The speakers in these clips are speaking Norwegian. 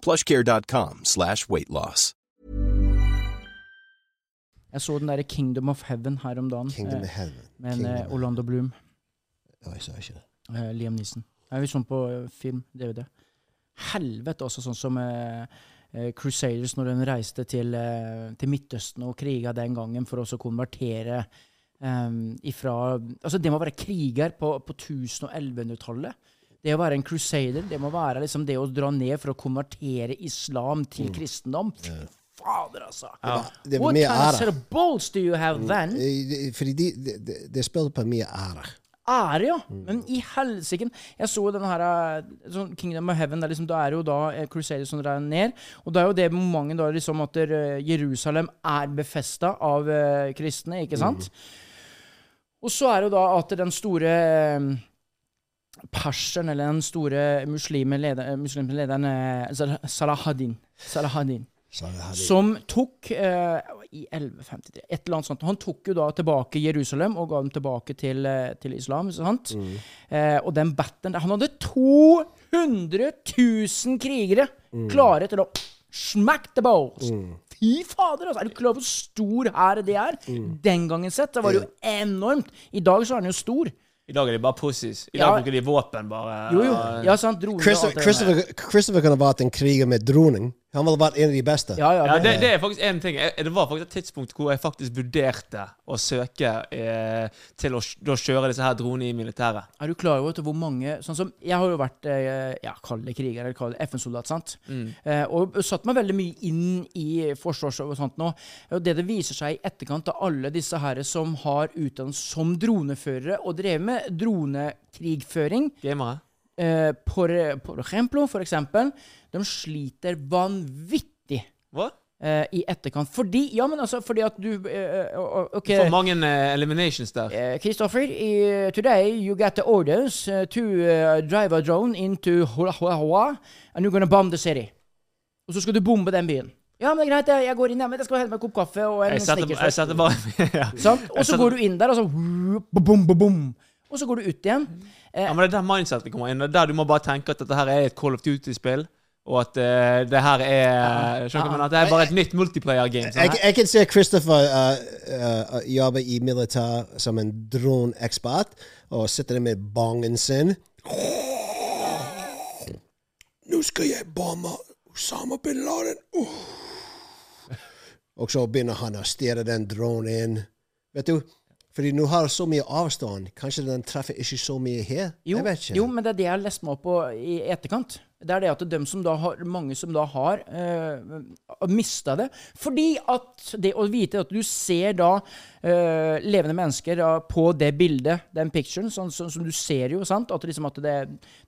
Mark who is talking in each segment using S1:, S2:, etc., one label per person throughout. S1: plushcare.com slash weight loss.
S2: Jeg så den derre Kingdom of Heaven her om dagen.
S3: Kingdom
S2: eh,
S3: of Heaven. Oh,
S2: Med en,
S3: Kingdom
S2: eh,
S3: of-
S2: Orlando Bloom.
S3: Oi, jeg sa ikke det.
S2: eh, Liam Neeson. Nei, vi så den på eh, film, DVD. Helvete, altså, sånn som eh, eh, Crusaders når de reiste til, eh, til Midtøsten og kriga den gangen for å også konvertere eh, ifra Altså, det må være kriger på, på 1000- og 1100-tallet. Det å være en crusader, det må være liksom det å dra ned for å konvertere islam til kristendom. Fy fader, altså!
S3: Mm. det var
S2: What
S3: mye
S2: kind of
S3: ære.
S2: set of balls do you have then?
S3: Eh, det- Fordi de, de, de, de spiller på mye ære.
S2: ære, ja. Men i helsike Jeg så den her eh, sånn Kingdom of Heaven. Der liksom, da er jo da eh, Crusaders som drar ned. Og det er jo det momentet da liksom at eh, Jerusalem er befesta av eh, kristne, ikke sant? Og så er det jo da at den store eh, perseren, eller den store muslimen leder, eh, muslimske lederen eh, Zal- Salahuddin Salahuddin
S3: Så jeg hadde-
S2: som tok eh, I 1153, et eller annet sånt. Han tok jo da tilbake Jerusalem og ga dem tilbake til, eh, til islam. ikke sant? Eh, og den batteren der Han hadde 200 000 krigere klare til å smack the balls! Fy fader, altså! Er du klar over hvor stor hær det er? Den gangen sett, det var jo enormt. I dag så er den jo stor.
S4: I dag er de bare pussies. I dag
S2: Ja.
S4: bruker de våpen, bare.
S2: Jo, jo. Ja, sant? Droner og alt
S3: Christopher,
S2: det der.
S3: Christopher, Christopher kunne vært en kriger med droning. Han ville vært en av de beste.
S2: Ja, ja,
S4: Ja,
S2: det,
S4: det, det er faktisk en ting. Jeg, det var faktisk et tidspunkt hvor jeg faktisk vurderte å søke eh, til å s- da kjøre disse her dronene i militæret.
S2: Er du klar over til hvor mange sånn som, Jeg har jo vært eh, ja, kall det kriger eller kall det FN-soldat. sant? Eh, og satt meg veldig mye inn i forsvars og sånt nå. Og det det viser seg i etterkant av alle disse her som har utdannet som droneførere og drevet med dronekrigføring,
S4: Gamere.
S2: eh, por, por ejemplo, for eksempel, de sliter vanvittig
S4: Hva?
S2: eh, i etterkant. Fordi Ja, men altså, fordi at du eh, OK.
S4: For mange eh, eliminations der.
S2: Uh, Christopher, i- eh, today you got the orders uh, to uh, drive a drone into Hulahuahua, and you're gonna bomb the city. Og så skal du bombe den byen. Ja, men det er greit, jeg- jeg går inn, jeg, men jeg skal hente meg en kopp kaffe og en
S4: Jeg setter,
S2: snickers.
S4: jeg setter bare ja.
S2: Sant? Og
S4: jeg
S2: så
S4: setter-
S2: går du inn der, og så bom, bom, bom. Og så går du ut
S4: Mm.
S2: igjen. Eh,
S4: ja, men Det er der mindsetet kommer inn. Det er der du må bare tenke at dette her er et Call of Duty-spill. Og at eh, det her er Skjønner du hva jeg mener? At det er bare et nytt multiplayer-game.
S3: Jeg,
S4: sånn her.
S3: jeg kan se Christopher uh, uh, jobbe i militær som en droneekspert, og sitter der med bongen sin. Nå skal jeg bombe Osama bin Laden! Uh. Åh. Og så begynner han å stjele den dronen inn. Vet du, fordi nå har så mye avstand. Kanskje den treffer ikke så mye her?
S2: jo,
S3: jeg vet ikke.
S2: jo, men det er det jeg har lest meg opp på i etterkant. Det er det at dem som da har, mange som da har uh, mista det. Fordi at det å vite at du ser da eh, levende mennesker da, på det bildet, den picturen, sånn, sånn som du ser jo, sant, at, liksom at det,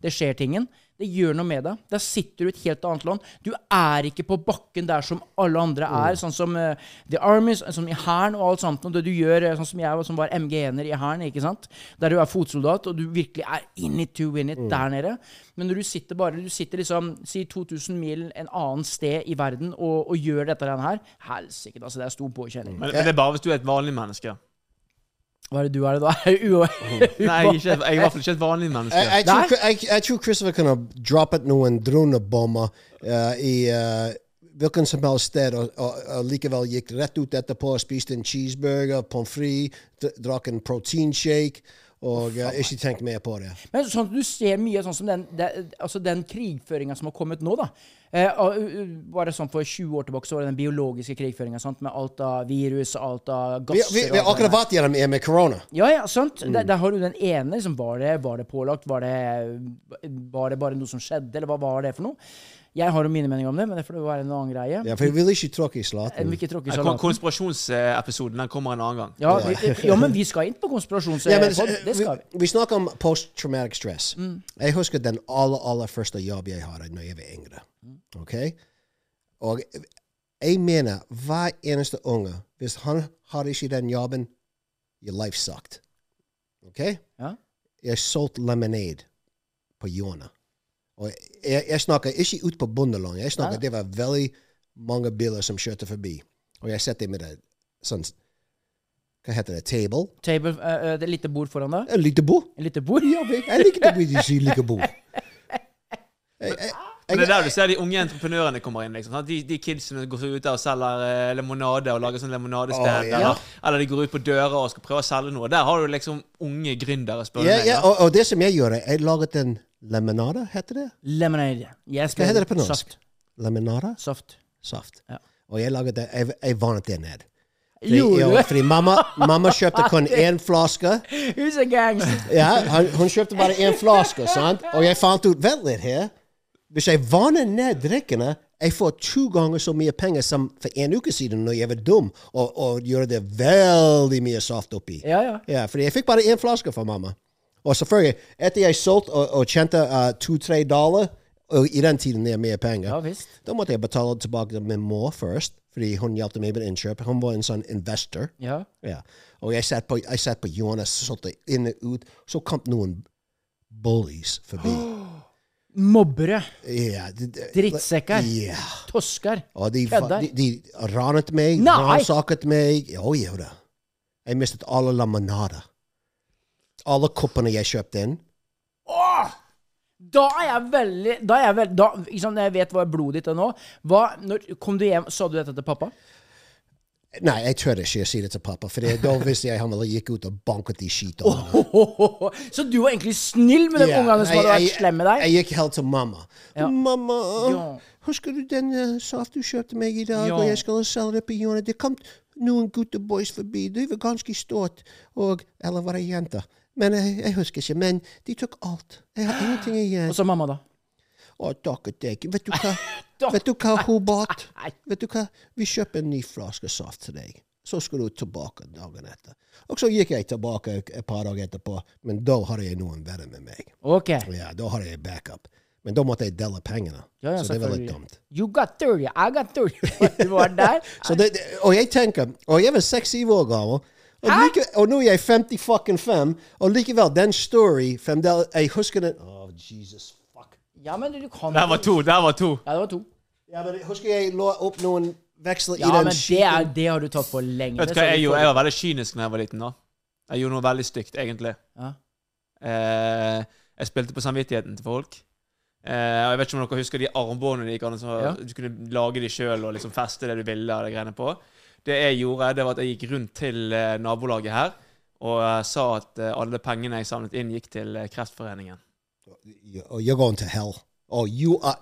S2: det skjer tingen, Det gjør noe med deg. Der sitter du i et helt annet land. Du er ikke på bakken der som alle andre er, sånn som eh, The Army, sånn som i Hæren og alt sånt. Og det du gjør, eh, sånn som jeg var- som var MG1-er i Hæren, ikke sant? der du er fotsoldat, og du virkelig er in it to win it der nede. Men når du sitter bare Du sitter liksom si 2000 mil en annen sted i verden og, og gjør dette her, helsike, altså, det er stor påkjenning.
S4: Men, men det er bare hvis du er et vanlig menneske.
S2: Hva er det du er, da? Ua-
S4: Nei, jeg er, ikke, jeg er i hvert fall ikke et vanlig menneske.
S3: Jeg, jeg, tror,
S2: Nei.
S3: jeg, jeg tror Christopher kan ha droppet noen dronebomber eh, i eh, hvilken som helst sted, og, og, og likevel gikk rett ut etterpå og spiste en cheeseburger, pommes frites, dr- drakk en proteinshake, og eh, ikke tenk mer på det.
S2: Men sånn, at du ser mye sånn som den, den, altså den krigføringa som har kommet nå, da. Eh, og, uh, uh, bare sånn for 20 år tilbake så var det den biologiske krigføringa, sant, med alt av virus, alt av
S3: Vi,
S2: gasser
S3: vi, vi
S2: og alt
S3: har
S2: det
S3: akkurat
S2: der.
S3: vært Mm. gjennom det med korona.
S2: Ja, ja, sant. Der, der har du den ene. Liksom, var, det, var det pålagt? Var det, var det bare noe som skjedde? Eller hva var det for noe? Jeg har jo mine meninger om det, men det får være en annen greie.
S3: Ja, for jeg vil ikke tråkke i
S2: Jeg
S3: slaten.
S2: vil ikke tråkke i
S4: Kon-
S2: salaten.
S4: Konspirasjonsepisoden den kommer en annen gang.
S2: Ja, vi, ja, men vi skal inn på
S3: Ja, men,
S2: konspirasjonspod.
S3: eh,
S2: det
S3: vi,
S2: skal vi. Mm.
S3: vi snakker om post-traumatic stress. Jeg husker den aller, aller første jobb jeg hadde når jeg var yngre.
S2: Mm.
S3: Ok? Og jeg mener hver eneste unge, hvis han har ikke den jobben, your life sucked. Ok?
S2: Ja.
S3: Jeg solgte lemonade på Jona. Og jeg, jeg snakker ikke ut på Bondelandet. Jeg snakker
S2: Nei.
S3: det var veldig mange biler som kjørte forbi. Og jeg satt der med det sånn Hva heter det? Table?
S2: Table, eh, eh, det er lite bord foran deg.
S3: En liten bord.
S2: Et lite bord?
S3: Ja, jeg, jeg liker det å bli ikke like god. Jeg- jeg-
S4: Men det er der du ser de unge entreprenørene kommer inn. liksom. sant? De, de kidsene går ut der og selger eh, limonade og lager sånn limonadested.
S3: Å, ja.
S4: eller, eller de går ut på dører og skal prøve å selge noe. Der har du liksom unge gründere. spør du
S3: Ja,
S4: meg,
S3: ja,
S4: da.
S3: og, og det som jeg gjorde, jeg laget en lemonade, heter det?
S2: Lemonade. Yes,
S3: Hva heter det på norsk?
S2: Saft.
S3: Lemonade?
S2: Saft.
S3: Saft.
S2: Ja.
S3: Og jeg laget det, jeg, jeg vannet det ned. Fordi,
S2: Gjorde
S3: ja,
S2: du?
S3: fordi mamma, mamma kjøpte kun én flaske.
S2: Who's a gangster?
S3: Ja, hun, hun kjøpte bare én flaske, sant? Og jeg fant ut, vent litt her, hvis jeg vanner ned drikkene, jeg får 20 ganger så mye penger som for en uke siden når jeg var dum, og, og gjorde det veldig mye saft oppi.
S2: Ja, ja.
S3: Ja, fordi jeg fikk bare én flaske fra mamma. Og selvfølgelig, etter jeg solgte og, og tjente eh, to-tre dollar, og i den tiden det er mer penger,
S2: Ja visst.
S3: da måtte jeg betale tilbake til min mor først, fordi hun hjalp meg med innkjøp. Hun var en sånn investor.
S2: Ja.
S3: Ja. Oh, Og jeg satt på, jeg satt på Jonas, solgte inn og ut, så kom noen bullies forbi.
S2: Mobbere.
S3: Ja, de- de-
S2: Drittsekker.
S3: Ja. Oh,
S2: Tosker.
S3: Og de,
S2: Kødder.
S3: de, de ranet meg,
S2: Nei.
S3: ransaket meg. Å, jo da. Jeg mistet alle laminader. Alle koppene jeg kjøpte inn.
S2: Åh! Da er jeg veldig Da er jeg veldig da, ikke sant, Når jeg vet hva er blodet ditt er nå hva, når, Kom du hjem Sa du dette til pappa?
S3: Nei, jeg tør ikke å si det til pappa, for da visste jeg han ville gikk ut og banket de skitene.
S2: Hohoho. Så du var egentlig snill med de
S3: Ja,
S2: ungene som
S3: jeg-
S2: hadde vært
S3: jeg-
S2: slemme med deg?
S3: Jeg gikk helt til mamma.
S2: Ja.
S3: Mamma,
S2: Ja.
S3: husker du den uh, saft du kjøpte meg i dag,
S2: Ja.
S3: og jeg skal selge det på hjørnet? Det kom noen gutteboys forbi, de var ganske stort, og Eller var det jenter? Men eh, jeg, jeg husker ikke. Men de tok alt. Jeg har ingenting igjen.
S2: Og så mamma, da?
S3: Å, takket deg. Vet du hva,
S2: Takk.
S3: Vet du hva Hobart?
S2: Nei.
S3: Vet du hva? Vi kjøper en ny flaske saft til deg. Så skal du tilbake dagen etter. Og så gikk jeg tilbake et par dager etterpå, men da hadde jeg noen venner med meg.
S2: OK.
S3: Ja, Oh, da hadde jeg backup. Men da måtte jeg dele pengene.
S2: Ja, ja,
S3: så det var litt
S2: selvfølgelig.
S3: dumt.
S2: You got 30, I got 30. Du var der.
S3: Så det, det- og jeg tenker Og jeg var seks-syv år gammel. Og, like, og nå er jeg 50 fucking fem, og likevel, den story fremdeles Jeg husker den Å, Jesus fuck.
S2: Ja, men du du kan
S4: Der var to! Der var to!
S2: Ja, det var to.
S3: Ja, men Husker jeg lå opp noen veksler i
S2: Ja,
S3: den
S2: men det,
S3: skiten.
S2: er, det har du tatt for lenge.
S4: Vet du
S2: så
S4: hva,
S2: du
S4: jeg,
S2: får-
S4: gjorde, jeg var veldig kynisk da jeg var liten. da. Jeg gjorde noe veldig stygt, egentlig.
S2: Ja.
S4: Eh, jeg spilte på samvittigheten til folk. Eh, og Jeg vet ikke om dere husker de armbåndene de gikk an, så
S2: Ja.
S4: du kunne lage de sjøl og liksom feste det du ville. av de greiene på. Det jeg gjorde, det var at jeg gikk rundt til eh, nabolaget her og eh, sa at eh, alle pengene jeg samlet inn, gikk til eh, Kreftforeningen.
S3: You- You're going to hell. Oh, you are.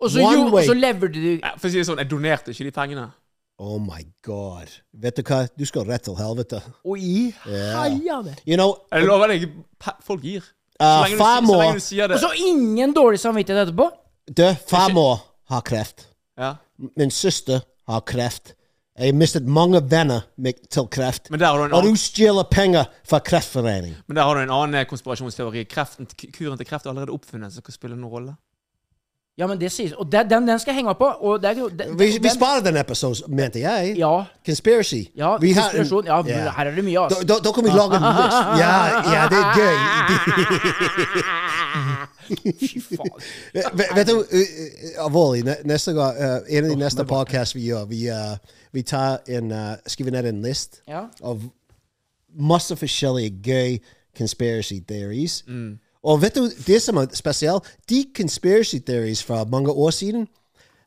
S2: Og så,
S3: One
S2: jo, og
S3: way.
S2: så lever du
S4: Eh, For å si det sånn, Jeg donerte ikke de pengene.
S3: Oh my god. Vet du hva? Du skal rett til helvete.
S2: Og i
S3: Ja.
S2: heiene.
S3: You know,
S4: Jeg lover deg, pe- folk gir. Så
S3: uh,
S4: lenge du, si- så
S3: farmor
S4: lenge du sier
S2: Og
S4: det.
S2: så ingen dårlig samvittighet etterpå?
S3: Du, farmor har kreft.
S4: Ja.
S3: Min søster har kreft. Jeg mistet mange venner med, til kreft.
S2: er
S4: Men der har du en
S3: Og du
S4: annen,
S3: stjeler penger fra Kreftforeningen.
S4: men der har du en annen konspirasjonsteori. Kreften, k- kuren til kreft er allerede oppfunnet, så hva spiller det noen rolle?
S2: Ja, men det sies Og det, den, den skal jeg henge meg på. Og det er jo den-
S3: Vi, vi
S2: den-
S3: sparer den episoden, mente jeg.
S2: Ja.
S3: Conspiracy.
S2: ja
S3: Vi har en-
S2: konspirasjon. Ja,
S3: Ja.
S2: her er det mye,
S3: Da,
S2: altså.
S3: da, da kan vi lage en list. Ja, ja, det er gøy.
S2: Fy faen.
S3: Vet- Vet du, eh, eh, alvorlig, ne- neste gang, eh, en av de neste podcast vi gjør, vi, eh, vi tar en, eh, skriver ned en list
S2: Ja.
S3: av masse forskjellige gøy conspiracy theories. Og vet du, det som er spesielt, de conspiracy theories fra mange år siden,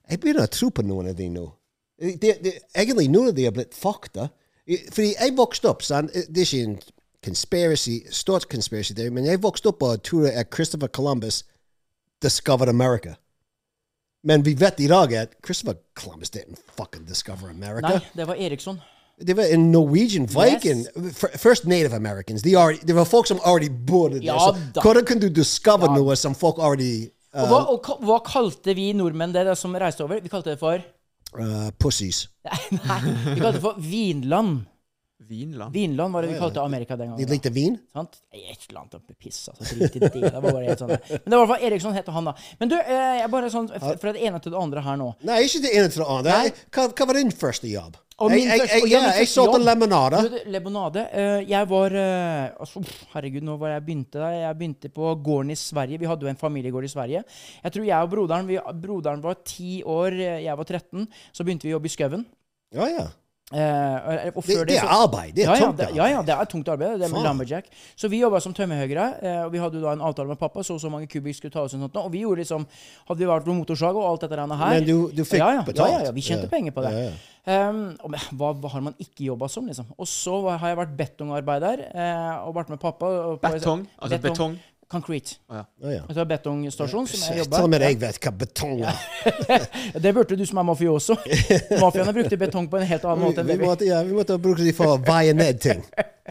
S3: jeg begynner å tro på noen av de nå. Det, det, egentlig noen av de er blitt fakta. I- Fordi jeg vokste opp, sant? det er ikke en conspiracy, stort conspiracy theory, men jeg vokste opp og trodde at Christopher Columbus discovered America. Men vi vet i dag at Christopher Columbus didn't fucking discover America.
S2: Nei, det var Eriksson.
S3: They were in Norwegian Viking. F- First Native Americans. They already, there were folk som already bodde der.
S2: Ja
S3: så
S2: da.
S3: Hvordan kan du discover noe som folk already uh,
S2: Og hva, og ka- hva kalte vi nordmenn det da som reiste over? Vi kalte det for
S3: uh, Pussies.
S2: Nei, nei. vi kalte det for Vinland.
S4: Vinland?
S2: Vinland var det vi kalte Amerika den
S3: De
S2: gangen. da.
S3: likte vin.
S2: Sant? Nei, Et eller annet oppe i piss, altså. Drit i det. Det var bare helt sånn. Men det var i hvert fall Eriksson het han, da. Men du, eh, jeg bare sånn f- fra det ene til det andre her nå.
S3: Nei, er ikke det ene til det andre. Jeg- Hva, hva var din første jobb?
S2: Og
S3: Jeg-
S2: min
S3: jeg-
S2: første-
S3: jeg-
S2: og ja,
S3: ja,
S2: min
S3: jeg
S2: første
S3: solgte
S2: jobb.
S3: lemonader.
S2: Du, Lemonade. eh, Jeg var eh, altså, pff, Herregud, nå var jeg begynte der. Jeg begynte på gården i Sverige. Vi hadde jo en familiegård i Sverige. Jeg tror jeg og broderen vi, Broderen var ti år, eh, jeg var 13. Så begynte vi å jobbe i skauen.
S3: Ja, ja.
S2: Eh, og- og
S3: Det,
S2: før
S3: det er
S2: så-
S3: arbeid. Det er
S2: ja, ja,
S3: tungt
S2: det,
S3: arbeid.
S2: ja, ja, det er tungt arbeid. Det er med
S3: Faen.
S2: lumberjack. Så vi jobba som tømmerhøyere, eh, og vi hadde jo da en avtale med pappa, så og så mange kubikk skulle tas ut, og sånt, og vi gjorde liksom Hadde vi vært på motorsag og alt dette der her
S3: Men du- du fikk
S2: ja, ja,
S3: betalt.
S2: Ja, ja, ja, vi tjente
S3: Ja.
S2: penger på det.
S3: Ja, ja.
S2: Ehm, og men hva, hva har man ikke jobba som, liksom? Og så var- har jeg vært betongarbeider, eh, og vært med pappa og på-
S4: Betong? Altså betong?
S2: Concrete.
S3: Ja, ja.
S2: Vet du hva betongstasjon er som jeg
S3: Så
S2: jobba
S3: Til og med jeg vet hva betong er.
S2: Det burde du som er mafioso. Mafiaene brukte betong på en helt annen måte enn
S3: Vi,
S2: det vi
S3: vi, måtte, ja, vi måtte bruke de for å veie ned ting.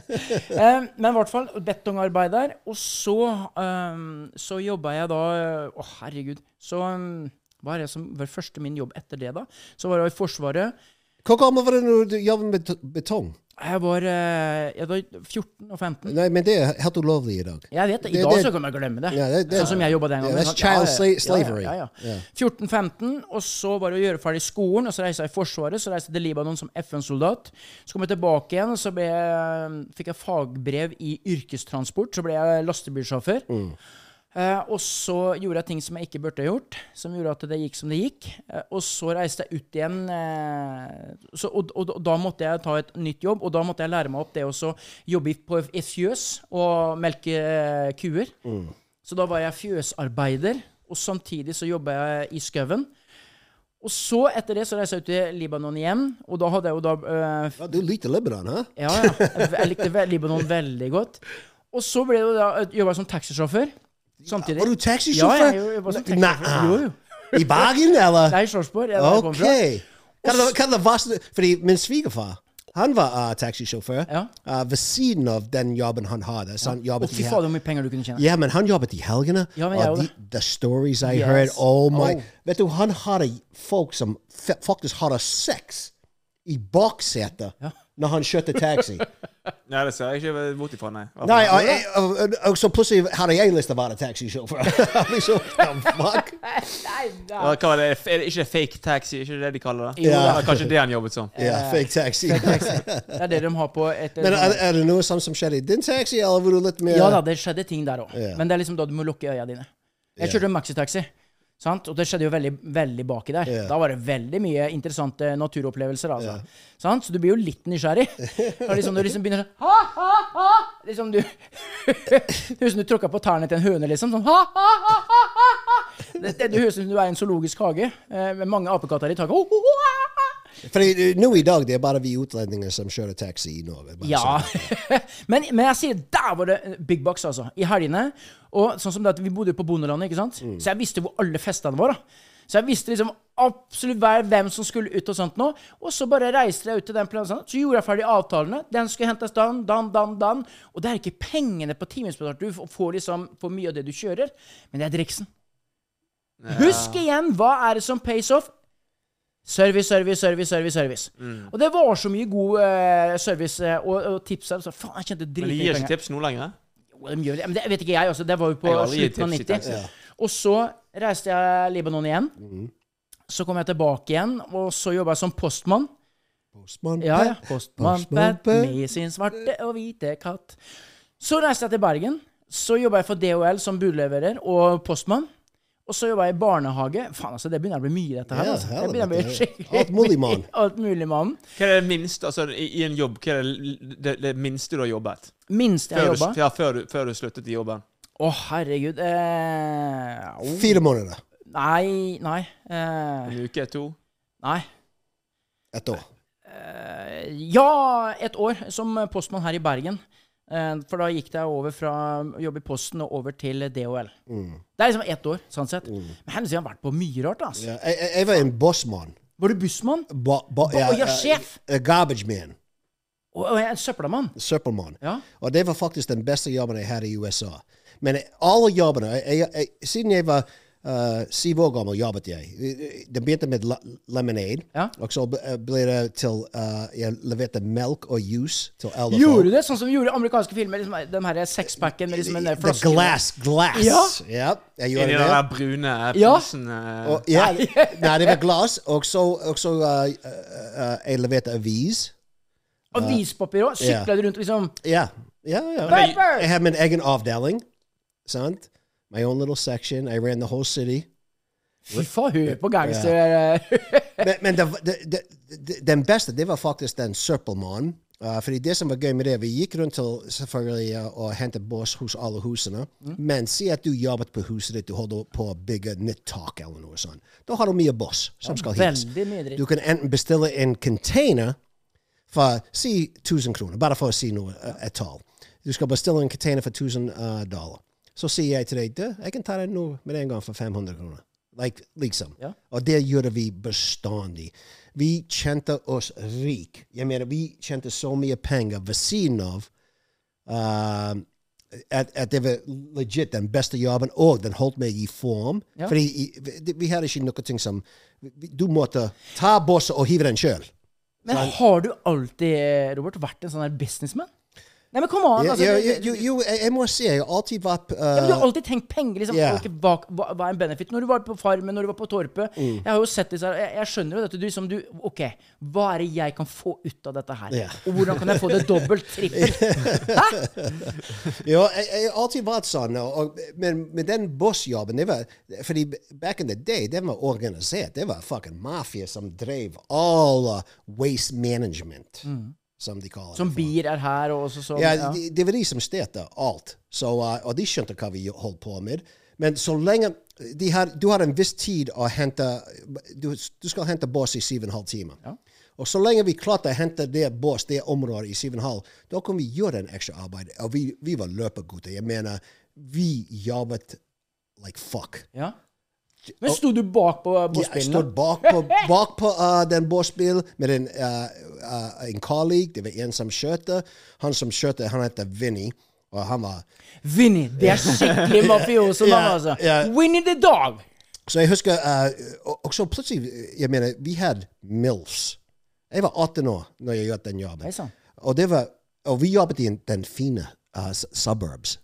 S2: Eh, men i hvert fall betongarbeider. Og så, um, så jobba jeg da eh, Å, herregud. Så um, hva er det som var første min jobb etter det, da? Så var jeg i Forsvaret.
S3: Hvor gammel var du når du jobbet med bet- betong?
S2: Jeg var, eh, jeg var 14 og 15.
S3: Nei, men det er helt ulovlig i dag.
S2: Jeg vet det. I
S3: Det-
S2: dag
S3: det-
S2: så kan man glemme det.
S3: Ja, det- det-
S2: sånn som jeg jobba den gangen.
S3: Yeah, that's
S2: sant? Ja,
S3: child
S2: ja,
S3: sla-
S2: ja,
S3: slavery.
S2: Ja, ja, ja.
S3: Yeah.
S2: 14-15, og så var det å gjøre ferdig skolen, og så reiste jeg i Forsvaret, så reiste jeg til Libanon som FN-soldat. Så kom jeg tilbake igjen, og så ble jeg, fikk jeg fagbrev i yrkestransport, så ble jeg lastebilsjåfør.
S3: Mm.
S2: Eh, og så gjorde jeg ting som jeg ikke burde gjort, som gjorde at det gikk som det gikk. Eh, og så reiste jeg ut igjen, eh, så, og, og, og da måtte jeg ta et nytt jobb. Og da måtte jeg lære meg opp det også, jobbe i, på, i fjøs og melke eh, kuer.
S3: Mm.
S2: Så da var jeg fjøsarbeider, og samtidig så jobba jeg i skauen. Og så, etter det, så reiste jeg ut til Libanon igjen, og da hadde jeg jo da eh,
S3: Ja, du likte Libanon, hæ?
S2: Ja, ja. Jeg, jeg likte ve- Libanon veldig godt. Og så ble det jo da jobba jeg som taxisjåfør samtidig.
S3: Var
S2: Ja,
S3: du taxisjåfør?
S2: jeg, jeg var som
S3: Nei,
S2: taxisjåfør. Jo, jo.
S3: I Bergen, eller?
S2: Nei, Sarpsborg. jeg er der jeg kommer
S3: Ok.
S2: fra.
S3: Hva er det- hva er det verste Fordi min svigerfar han var uh, taxisjåfør
S2: Ja.
S3: uh, ved siden av den jobben han hadde. Så han
S2: Å,
S3: jobbet
S2: fy
S3: i hel-
S2: fader, hvor mye penger du kunne tjene.
S3: Ja, men han jobbet i helgene.
S2: Ja, men jeg
S3: og de,
S2: også.
S3: the stories I
S2: Yes.
S3: heard Oh my
S2: Oh.
S3: Vet du, han hadde folk som fa- faktisk hadde sex i baksetet når han kjørte taxi.
S4: Nei, det ser jeg ikke bort ifra, nei. Hva for
S3: Nei,
S4: noe?
S3: og, og, og, og så plutselig hadde jeg lyst til å være taxisjåfør. liksom, fuck?
S4: Ja, Hva var det? Er det ikke fake taxi? Er ikke det de kaller det?
S2: Jo,
S4: Ja.
S3: da.
S4: Kanskje det han jobbet som.
S3: Ja,
S2: Eh,
S3: fake taxi.
S2: Det er det de har på et
S3: Men er, er det noe sånt som skjedde i din taxi, eller var du litt mer
S2: Ja da, det skjedde ting der òg.
S3: Ja.
S2: Men det er liksom da du må lukke øya dine. Jeg kjørte en maxitaxi. Sant? Og det skjedde jo veldig, veldig baki der.
S3: Ja.
S2: Da var det veldig mye interessante naturopplevelser. Altså. Sant? Så du blir jo litt nysgjerrig. Og liksom, du liksom begynner sånn ha, ha, ha! Liksom du Det høres ut som du tråkka på tærne til en høne, liksom. Sånn ha, ha, ha, ha, ha, ha! Det, det, det høres ut som du er i en zoologisk hage eh, med mange apekatter i taket. Ho, ho, ho, ha, ha!
S3: Fordi eh, nå i dag det er bare vi utlendinger som kjører taxi i Norge. bare
S2: Ja.
S3: sånn.
S2: men, men jeg sier, der var det big bucks, altså. I helgene. Og sånn som det at vi bodde på bondelandet, ikke sant? Så jeg visste hvor alle festene var. da. Så jeg visste liksom absolutt hver- hvem som skulle ut og sånt nå. Og så bare reiste jeg ut til den plassen. Så gjorde jeg ferdig avtalene. Den skulle hentes dan, dan, dan, dan. Og det er ikke pengene på timesbetalt du f- får liksom for mye av det du kjører, men det er driksen. Husk igjen, hva er det som pays off? Service, service, service, service. service.
S4: Mm.
S2: Og det var så mye god eh, service eh, og, og tips der. Så faen, jeg kjente
S4: Men de
S2: dritmye
S4: gir ikke
S2: penger.
S4: tips nå lenger?
S2: Jo, de gjør det. Men det vet ikke jeg også. Det var jo på
S4: Jeg Mm. har aldri gitt
S2: slutten av
S4: tips i
S2: 90.
S4: taxi.
S2: Og så reiste jeg Libanon igjen. Så kom jeg tilbake igjen, og så jobba jeg som postmann.
S3: Postmann
S2: Ja, ja.
S3: Pat.
S2: Postmann
S3: Postmann
S2: Pat
S3: Pat.
S2: med sin svarte og hvite katt. Så reiste jeg til Bergen. Så jobba jeg for DHL som budleverer og postmann. Og så jobba jeg i barnehage. Faen, altså, det begynner å bli mye, dette her.
S3: Ja,
S2: altså. Det
S3: helvete.
S2: begynner å bli skikkelig
S3: Alt mulig, mann.
S2: mye. Alt mulig, mann.
S4: Hva er det minste altså, i, i en jobb, hva er det, det, det minste du har jobbet?
S2: Minst jeg
S4: Før,
S2: jobba.
S4: du, ja, før, du, før du sluttet i jobben?
S2: Å, herregud. Eh, au.
S3: Fire måneder.
S2: Nei, nei. Eh,
S4: En uke, to?
S2: nei.
S3: Et år.
S2: Ja, et år som postmann her i Bergen. Eh, For da gikk jeg over fra å jobbe i Posten og over til DHL.
S3: Mm.
S2: Det er liksom ett år, sånn sett. Men her har jeg vært på mye rart. Altså.
S3: Ja, jeg, jeg, jeg var en bossmann.
S2: Var du bussmann?
S3: Ba, ba,
S2: Ba- ja, sjef.
S3: eh, garbage man.
S2: Og og jeg er en søppelmann?
S3: Søppelmann.
S2: Ja.
S3: Og det var faktisk den beste jobben jeg hadde i USA. Men alle eh, jobbene jeg, jeg, jeg, Siden jeg var eh, syv år gammel, jobbet jeg. Det begynte med la- lemonade,
S2: Ja.
S3: og så ble- ble det til eh, Jeg leverte melk og juice til alle
S2: Gjorde du det? Sånn som vi gjorde i amerikanske filmer? Liksom, den her sexpacken med liksom en der
S3: The
S2: flaske
S3: glass, glass.
S2: eh, Ja.
S3: Ja, jeg
S4: Inni
S3: gjorde
S4: den
S3: det.
S4: der brune
S2: Ja.
S4: pilsen eh,
S3: Og, ja, nei, det var glass. Og så, og så eh, eh, eh, jeg leverte avis.
S2: Avispapir òg.
S3: Ja.
S2: Sykla du rundt og liksom
S3: Ja. ja, ja.
S2: Paper!
S3: Jeg hadde min egen avdeling. Sant? My own little section. I ran the whole city.
S2: Fy faen, hør på gangster... eh.
S3: Men, men det, det, det, det- den beste, det var faktisk den søppelmannen. Uh, fordi det som var gøy med det, vi gikk rundt til selvfølgelig uh, og hentet bås hos alle husene. Men si at du jobbet på huset ditt, du holder på å bygge nytt tak eller noe sånt. Da har du mye bås som skal hits.
S2: Veldig mye dritt.
S3: Du kan enten bestille en container for si 1000 kroner, bare for å si noe, eh, et tall. Du skal bestille en container for 1000 eh, dollar. Så sier jeg til deg du, jeg kan ta deg nå med en gang for 500 kroner. Like, liksom.
S2: Ja.
S3: Og det gjorde vi bestandig. Vi kjente oss rik. Jeg mener, vi tjente så mye penger ved siden av eh, at, at det var legit den beste jobben, og den holdt meg i form.
S2: Ja.
S3: Fordi i- vi- vi hadde ikke noe ting som vi- Du måtte ta bosset og hive den sjøl.
S2: Men
S3: Sånn.
S2: har du alltid, Robert, vært en sånn her businessman? Nei, men kom an!
S3: Ja,
S2: Altså,
S3: ja,
S2: det-
S3: jo, jo, jeg jeg må si, jeg har alltid vært
S2: Ja, men du
S3: eh,
S2: har alltid tenkt penger. liksom,
S3: Ja.
S2: ok, hva, hva, hva er en benefit? Når du var på Farmen, når du var på Torpet
S3: Mm.
S2: Jeg har jo sett disse her, jeg, jeg skjønner jo dette. Du, liksom, du, ok, Hva er det jeg kan få ut av dette her?
S3: Ja.
S2: Og hvordan kan jeg få det dobbelt, trippelt?
S3: Ja, jeg, jeg har alltid vært sånn. Og, og, men, men den bossjobben det var, Fordi back in the day, den var organisert. Det var fucking mafia som drev all uh, waste management, som de kaller
S2: Mm. Som
S3: det. for.
S2: bier er her, og også sånn.
S3: Ja, det de var de som styrte alt. Så, uh, og de skjønte hva vi holdt på med. Men så lenge de har, Du har en viss tid å hente Du, du skal hente bås i syv og en halv time. Og så lenge vi klarte å hente det bås, det området, i syv og en halv, da kunne vi gjøre en ekstra arbeid. Og vi, vi var løpegutter. Jeg mener, vi jobbet like fuck.
S2: Ja. Men sto du bak på
S3: Ja, jeg
S2: båsbilen?
S3: stod bak på, bak på uh, den båsbilen med en, uh, uh, en colleague. Det var en som kjørte. Han som kjørte, han heter Vinny. Og han var
S2: Vinny! Det er skikkelig mafioso navn,
S3: Ja,
S2: altså.
S3: ja.
S2: Winnie the dog!
S3: Så jeg husker uh, og- Og så plutselig, uh, jeg mener, vi hadde Mills. Jeg var 18 år når jeg gjorde den
S2: Hei
S3: jobben.
S2: sann.
S3: Og, det var, og vi jobbet i den fine uh, s- suburbs.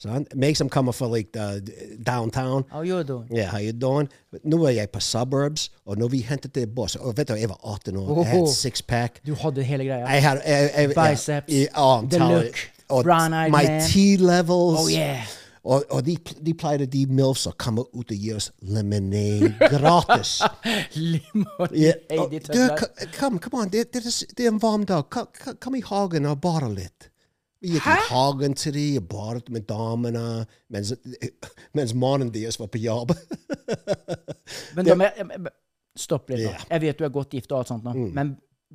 S3: sant? Meg som kommer fra like, uh, downtown.
S2: How you doing?
S3: Yeah, how you doing? Nå er jeg på suburbs, og når vi hentet det boss Og vet du, jeg var 18 år, jeg
S2: Oho.
S3: hadde sixpack.
S2: Du hadde hele greia.
S3: I had I, I,
S2: Biceps,
S3: yeah, oh, I'm
S2: the
S3: telling you.
S2: look,
S3: Or
S2: brown-eyed
S3: my
S2: man.
S3: T levels.
S2: Oh yeah!
S3: Or, or de, de pleite de milfs or come out the years lemonade gratis. yeah.
S2: Limonade
S3: Oh,
S2: i
S3: dude,
S2: tønner.
S3: co- come, come on. They're, they're, just, they're varmed up. Come, come, come i hagen og bare litt. Vi gikk i hagen til de, og badet med damene, mens, mens mannen deres var på jobb.
S2: Men da, må jeg- jeg- jeg- stopp litt nå.
S3: Ja. Mm.
S2: Jeg vet du er godt gift og alt sånt nå, men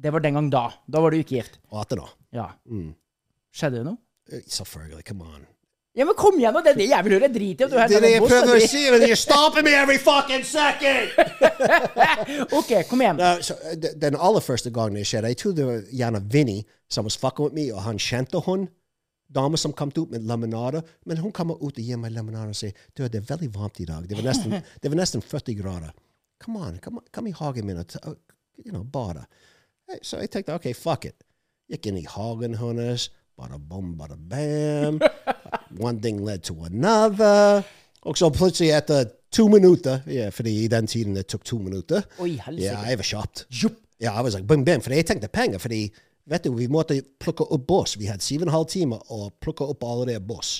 S2: det var den gang da. Da var du ikke gift.
S3: 18 år.
S2: Ja.
S3: Mm.
S2: Skjedde det noe?
S3: Selvfølgelig. Come on.
S2: Ja, men kom igjen, nå! Det er det jeg vil høre! Drit i om du
S3: Det
S2: henter
S3: er det
S2: en
S3: jeg
S2: boss.
S3: prøver å
S2: eller-
S3: si, men you're stopping me every fucking second!
S2: OK, kom igjen.
S3: Nå, så, eh, d- den aller første gangen det skjedde, jeg trodde det var gjerne Vinny som was fucking with me, og han kjente hun. Dama som kom ut med lemonade. Men hun kommer ut og gir meg lemonade og sier du, det er veldig varmt i dag. Det var nesten, det var nesten 40 grader. Come on, come, on, come i hagen min og ta- you know, bada. Hey, So jeg tenkte OK, fuck it. Gikk inn i hagen hennes. Bada bom, bada bam. One thing led to another. Oh, Og så plutselig, etter to minutter ja, Fordi i den tiden det tok to minutter
S2: Oi,
S3: Ja,
S2: helsike.
S3: jeg var kjapt.
S2: Jupp.
S3: Ja, jeg var sånn, bam, bam, for jeg tenkte penger, fordi vet du, vi måtte plukke opp boss. Vi hadde syv og en halv time å plukke opp alle det boss.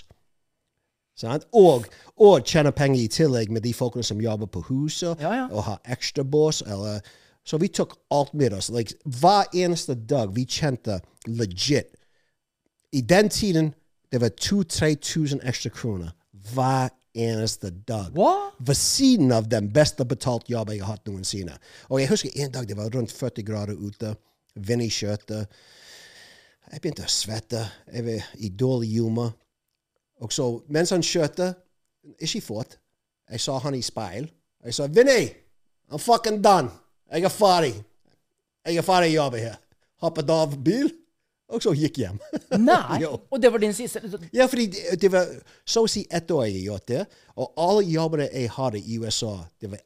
S3: Sant? Og, og tjene penger i tillegg med de folkene som jobber på huset,
S2: Ja, ja.
S3: og har ekstra boss. uh, Eller, så vi tok alt med oss. Like, hver eneste dag vi tjente legit. I den tiden det var 2000-3000 ekstra kroner hver eneste dag
S2: Hva?
S3: ved siden av den beste betalt jobben jeg har hatt noensinne. Og jeg husker en dag det var rundt 40 grader ute, vind i skjørtet. Jeg begynte å svette, jeg var i dårlig humør. Og så, mens han kjørte, ikke fort, jeg så han i speil. Jeg sa, Vinny, I'm fucking done. Jeg er ferdig. Jeg er ferdig i jobben her. Hoppet av bil, og så gikk hjem.
S2: Nei!
S3: Jo.
S2: Og det var din siste
S3: Ja, fordi det, det var så å si ett år jeg har gjort det, og alle jobbene jeg hadde i USA, det var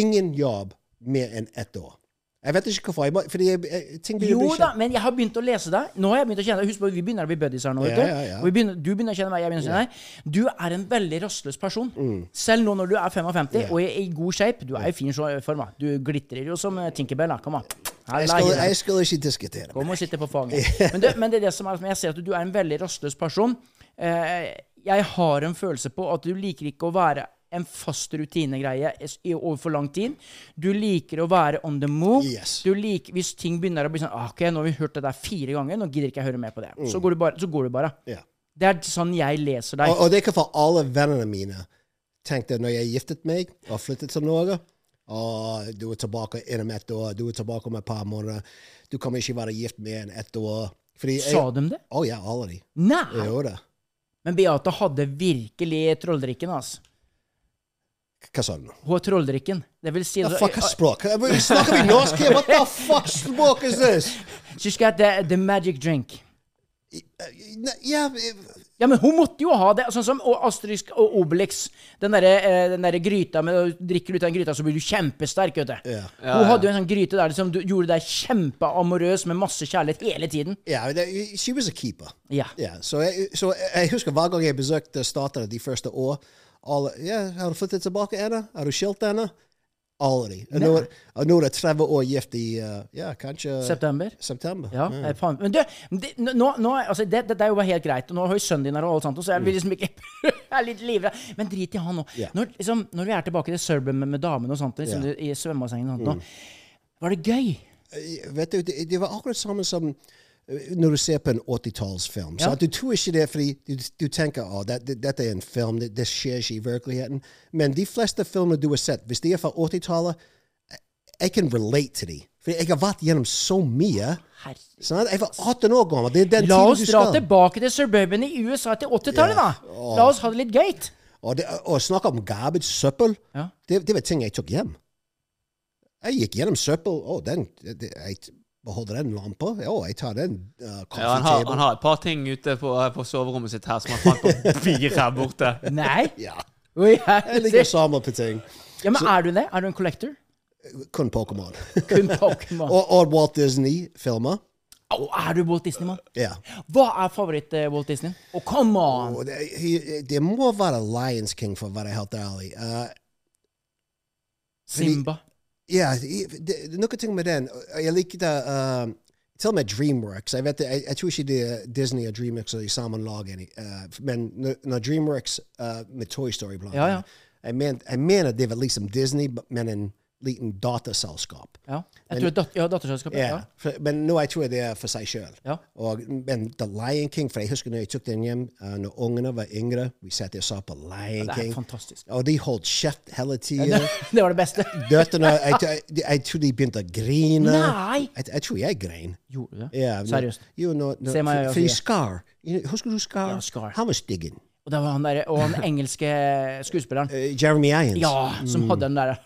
S3: ingen jobb mer enn ett år. Jeg vet ikke hvorfor. Jeg, må- fordi jeg, jeg, ting blir
S2: Jo
S3: blir
S2: da,
S3: kjent.
S2: men jeg har begynt å lese deg. Nå har jeg begynt å kjenne deg. Husk på, vi begynner å bli buddies her nå. vet du?
S3: Ja, ja, ja.
S2: Og vi begynner, du begynner å kjenne meg, jeg begynner å kjenne deg. Du er en veldig rastløs person.
S3: Mm.
S2: Selv nå når du er 55 og i, i god shape. Du er i fin så- form. da. Du glitrer jo som eh, Tinkerbell. da. Kom, da. Her,
S3: Jeg
S2: la
S3: skulle,
S2: henne.
S3: jeg skulle ikke diskutere.
S2: Kom og sitte på fanget. Men, det- men det er det som er, men jeg ser at du er en veldig rastløs person. Eh, jeg har en følelse på at du liker ikke å være en fast rutinegreie s- i- over for lang tid. Du liker å være on the move.
S3: Yes.
S2: Du liker, hvis ting begynner å bli sånn ah, OK, nå har vi hørt det der fire ganger, nå gidder ikke jeg høre mer på det. Så, går du bare, så går du bare.
S3: Ja.
S2: Det er sånn jeg leser deg.
S3: Mm. Og, og det er hvorfor alle vennene mine tenkte når jeg giftet meg og flyttet til Norge og du er tilbake innen ett år, du er tilbake om et par måneder, du kommer ikke være gift mer enn ett år. Fordi jeg,
S2: Sa de det?
S3: Å ja, allerede.
S2: Nei!
S3: Jo da.
S2: Men Beate hadde virkelig trolldrikken, altså.
S3: Hva sa du nå?
S2: Hun har trolldrikken. Det vil si altså,
S3: The fuck Uh, is språk? Snakker vi norsk her? What the fuck språk is this?
S2: She's got the, the magic drink.
S3: Uh, Ne- Ja, eh,
S2: Ja, men hun måtte jo ha det. Sånn som og Asterix og Obelix. Den derre eh, den derre gryta med Drikker du ut av den gryta, så blir du kjempesterk, vet du.
S3: Ja.
S2: Hun hadde jo en sånn gryte der som du gjorde deg kjempeamorøs med masse kjærlighet hele tiden.
S3: ja, det- uh, she was a keeper. uh,
S2: Ja.
S3: Ja, så jeg, så jeg husker hver gang jeg besøkte statene de første år alle, ja, 'Har du flyttet tilbake, Anna? Har du skilt henne?' Aldri. Og nå, og nå er det 30 år gift i eh, ja, kanskje
S2: September.
S3: september.
S2: Ja, eh, faen. Men du, det, nå, nå, altså, det, det, det er jo bare helt greit. Og nå har jo sønnen din her og alt sånt, og så jeg vil liksom ikke Jeg er litt livredd. Men drit i han nå.
S3: Mm. Ja.
S2: Når, liksom, når vi er tilbake i det surben med, med damene og sånt, liksom,
S3: Ja. Mm.
S2: i svømmebassenget og sånt nå, var det gøy?
S3: Eh, Vet du, det, det var akkurat samme som eh, når du ser på en 80-tallsfilm.
S2: Ja.
S3: sant? Du tror ikke det fordi du, du tenker at det, det, dette er en film, det, det skjer ikke i virkeligheten. Men de fleste filmer du har sett, hvis de er fra 80-tallet, eh, jeg kan relate til dem. For jeg har vært gjennom så mye.
S2: Herregud.
S3: sant? Jeg var 18 år gammel. Det er den
S2: La
S3: tiden
S2: oss
S3: du
S2: dra
S3: skal.
S2: tilbake til suburban i USA til 80-tallet,
S3: Ja.
S2: da! La oss ha det litt gøy.
S3: Og, det, og snakke om garbage, søppel,
S2: Ja.
S3: det, det var ting jeg tok hjem. Jeg gikk gjennom søppel. Å, den det, Jeg beholder den lampa. Å, jeg tar den uh,
S4: Ja, han, har, han har et par ting ute på, eh, på soverommet sitt her som han fant på fire her borte.
S2: Nei?
S3: Ja.
S2: Oi,
S3: Jeg liker sånn. å
S2: herregud.
S3: samle på ting.
S2: ja, men er du det? Er du en collector?
S3: Kun Pokémon.
S2: Kun Pokémon.
S3: og, og Walt Disney-filmer.
S2: Au, er du Walt Disney, mann?
S3: Ja.
S2: Hva er favoritt-Walt Disney? Å, come on!
S3: Og det, he- det må være Lions King, for å være helt ærlig. Uh,
S2: Simba.
S3: ja, i- det, det er noe ting med den. Jeg likte uh, Til og med Dreamworks. Jeg, vet, det- jeg, jeg tror ikke det er Disney og Dreamworks er i samme lag. any- Uh, men når, når Dreamworks uh, med Toy Story blant
S2: Ja, ja.
S3: annet, Jeg, men, jeg mener det var liksom Disney, men en liten datterselskap.
S2: Ja. Jeg tror dat ja, datterselskapet.
S3: Ja,
S2: Ja.
S3: for, men nå jeg tror jeg det er for seg sjøl.
S2: Ja.
S3: Og- Men The Lion King, for jeg husker når jeg tok den hjem uh, når ungene var yngre, vi satt og så på Lion
S2: Det er
S3: King,
S2: fantastisk.
S3: og de holdt kjeft hele tiden.
S2: Det var det beste.
S3: Døtrene jeg, jeg, jeg tror de begynte å grine.
S2: Nei!
S3: Jeg, jeg tror jeg grein.
S2: Gjorde du det?
S3: Ja, men-
S2: Seriøst.
S3: Jo, nå- nå-
S2: Se meg i øynene,
S3: for- fordi
S2: Sofie.
S3: Scar you know, Husker du Scar?
S2: Ja, Scar.
S3: Han var styggen.
S2: Og det var han der, og han engelske skuespilleren.
S3: Eh, mm. Jeremy Irons.
S2: Ja, som hadde den derre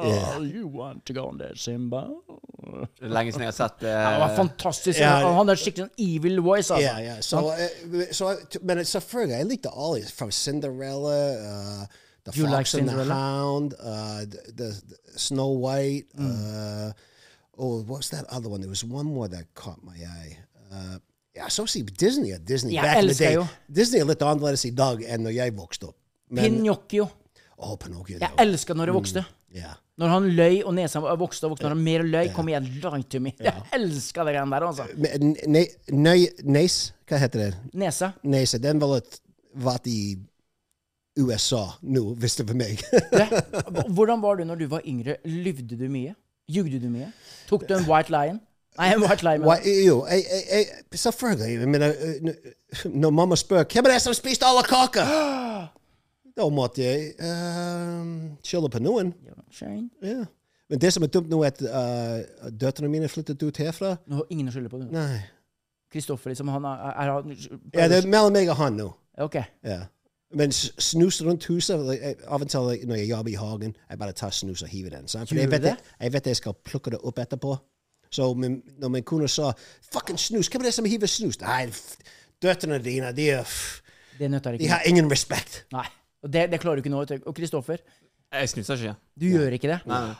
S2: You want to go on there, Simba?
S4: Det er lenge siden jeg har sett eh,
S2: Han var fantastisk.
S3: Ja.
S2: Han han hadde skikkelig sånn evil voice, altså.
S3: Ja, ja. Så, eh, så, men selvfølgelig, jeg likte alle. Fra Cinderella, uh, The
S2: You
S3: Fox
S2: like
S3: and the
S2: Cinderella? Mm.
S3: Hound, uh, the, the, the Snow White uh, Oh, what's that other one? There was one more that caught my eye. Uh, jeg associate Disney at Disney
S2: Jeg
S3: back in the
S2: elsker
S3: day.
S2: jo.
S3: Disney er litt annerledes i dag enn når jeg vokste opp. Men, Mm.
S2: Pinocchio.
S3: oh, Pinocchio.
S2: Jeg
S3: da.
S2: elska når jeg vokste.
S3: Ja.
S2: Når han løy, og nesa vokste og vokste, når han mer løy, kom igjen, lie to me. Jeg elska det greiene der, altså.
S3: Men, ne, ne, Nace, hva heter det?
S2: Nesa.
S3: Nace, den ville vært i USA nå, hvis det var meg.
S2: Det. Hvordan var du når du var yngre? Lyvde du mye? Jugde du mye? Tok du en white lion? Nei, en white lion.
S3: Why,
S2: men-
S3: jo, jeg, jeg, jeg, selvfølgelig. Jeg mener, eh, n- når mamma spør hvem er det som spiste alle Oh, kaker, da måtte jeg eh, skylde på noen.
S2: Shane.
S3: Ja. Men det som er dumt nå, er at eh, døtrene mine flyttet ut herfra.
S2: Nå har ingen å skylde på det.
S3: Nei.
S2: Kristoffer, liksom, han er, er, er
S3: Ja, dus- det er mellom meg og han nå.
S2: Ok.
S3: Ja. Men s- snus rundt huset like, jeg- Av og til like, når jeg jobber i hagen, jeg bare tar snus og hiver den. Sant? For
S2: Gjør
S3: jeg vet,
S2: du
S3: jeg, jeg vet jeg skal plukke det opp etterpå. Så min, når min kone sa 'fucking snus', hvem er det som hiver snus? Nei, f- døtrene dine, de, er, f-
S2: Det nøtter
S3: de
S2: ikke.
S3: har ingen respekt.
S2: Nei. Og det, det klarer du ikke nå. vet du. Og Kristoffer,
S4: Jeg snuser ikke.
S2: du gjør ikke det.
S4: Nei, nei.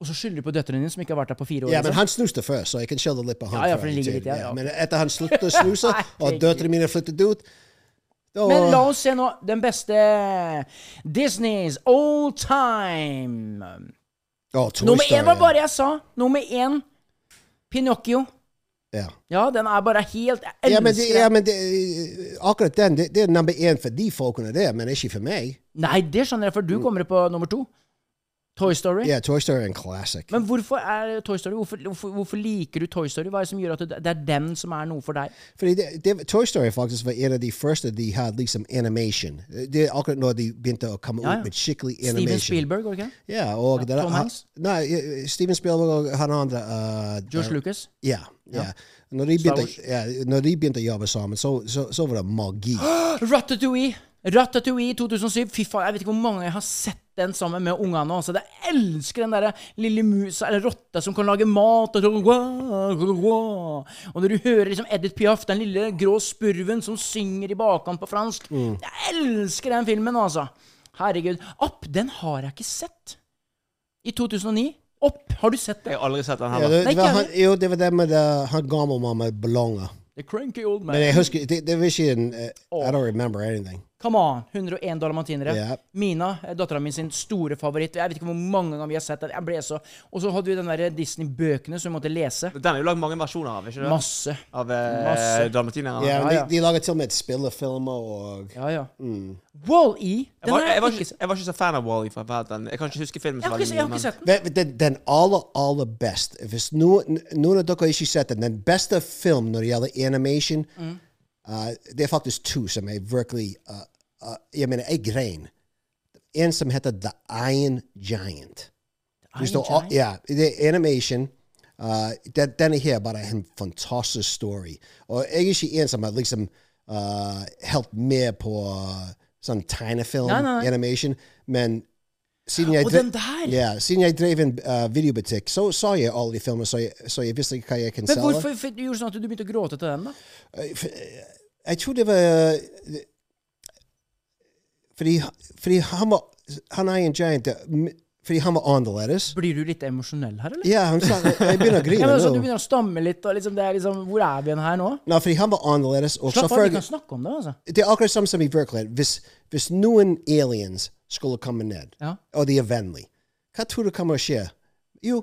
S2: Og så skylder du på døtrene dine, som ikke har vært der på fire år.
S3: Ja, men
S2: liksom.
S3: han snuste først, så jeg kan skjelle litt på han.
S2: Ja, ja,
S3: før
S2: for den
S3: han
S2: ligger
S3: tid.
S2: litt, ja, ja.
S3: Men etter han sluttet å snuse, og døtrene mine flyttet ut da,
S2: Men la oss se nå den beste Disneys all time.
S3: Å, Toy
S2: Nummer
S3: Story,
S2: én var
S3: ja.
S2: bare jeg sa. Nummer én Pinocchio.
S3: ja.
S2: Ja, den er bare helt Jeg elsker
S3: Ja, men, det,
S2: den.
S3: ja, men det, øh, akkurat den, det, det er nummer én for de folkene der, men ikke for meg.
S2: Nei, det skjønner jeg, for du kommer på nummer to. Toy Story.
S3: Ja, Toy Story er en classic.
S2: Men hvorfor er Toy Story Hvorfor, hvorfor, hvorfor liker du Toy Story? Hva er det som gjør at det, det er den som er noe for deg?
S3: Fordi det, det, Toy Story faktisk var en av de første de hadde liksom animation. Det er akkurat når de begynte å komme
S2: Ja, ja.
S3: ut med skikkelig
S2: Steven
S3: animation.
S2: Spielberg, var det ikke? det?
S3: Ja, og det,
S2: Tom Hanks?
S3: Nei, eh, Steven Spielberg og han andre eh,
S2: George
S3: der-
S2: Lucas?
S3: Ja. ja. Når, de begynte, ja når de begynte å jobbe sammen, så, så, så var det magi.
S2: Ratatouille! Ratatouille 2007. Fy faen, jeg vet ikke hvor mange jeg har sett den sammen med ungene. Altså. Jeg elsker den derre lille musa eller rotta som kan lage mat. Og, så- og når du hører liksom Edith Piaf, den lille grå spurven som synger i bakkant på fransk Jeg elsker den filmen, altså. Herregud. Opp, den har jeg ikke sett. I 2009. Opp, har du sett
S4: Jeg
S2: det?
S4: har aldri sett den
S3: Ja,
S4: heller.
S3: det, det var, han,
S2: ikke
S3: jo, det var det med eh, han gammelmann med ballonger.
S2: The Cranky Old Man.
S3: Men jeg husker Det, det var ikke en eh,
S2: Åh.
S3: I don't remember anything.
S2: Come on! 101 dalmatinere.
S3: Ja.
S2: Mina, dattera mi sin store favoritt. Jeg vet ikke hvor mange ganger vi har sett den. Jeg ble så... Og så hadde vi den der Disney-bøkene som vi måtte lese.
S4: Den er jo lagd mange versjoner av, ikke det?
S2: Masse.
S4: Av eh,
S2: Masse.
S4: dalmatinerne.
S3: Ja, men
S2: ja, ja.
S3: De, de lager til og med spillefilmer og
S2: Ja, ja.
S3: Mm.
S2: Wall-E.
S4: Jeg
S2: Den
S4: var,
S2: har
S4: jeg,
S2: jeg
S4: var
S2: ikke
S4: ikke,
S2: sett.
S4: jeg var ikke så fan av Wally. For å være helt ærlig. jeg kan ikke huske filmen
S2: Jeg
S4: så
S2: har
S4: veldig
S2: ikke, jeg har
S4: mye.
S2: ikke sett den.
S3: Vet- vet du, Den aller, aller best Hvis noen, noen av dere ikke har sett den, den beste film når det gjelder animation, uh, det er faktisk to som er virkelig uh, uh, Jeg mener, jeg grein. En som heter The Iron Giant. Det står-
S2: Iron Giant?
S3: Ja, det er animation. Uh, den, denne her bare er en fantastisk story. Og jeg er ikke en som har liksom uh, helt med på uh, sånn tegnefilm,
S2: Nei, nei, nei.
S3: animation, men siden jeg
S2: Og
S3: dre-
S2: den der!
S3: Ja, siden jeg drev en uh, videobutikk, så så jeg alle de filmene, så, jeg- så jeg visste ikke hva jeg kan
S2: Men
S3: selge.
S2: hvorfor for, du gjorde sånn at du begynte å gråte til den, da?
S3: Uh, Jeg tror det var uh, Fordi, fordi han var Han er en giant uh, m- fordi han var annerledes.
S2: Blir du litt emosjonell her, eller?
S3: Ja, han sa, jeg begynner å
S2: Ja,
S3: grine
S2: men, sånn, du
S3: nå.
S2: begynner å stamme litt, og liksom, det er liksom Hvor er vi igjen her nå?
S3: Nei, fordi han var annerledes. Og
S2: Slapp av, vi
S3: selvfølgelig-
S2: kan snakke om det, altså.
S3: det er akkurat samme som i virkeligheten. Hvis, hvis noen aliens skulle komme ned,
S2: Ja.
S3: og de er vennlige, hva tror du kommer å skje? Jo,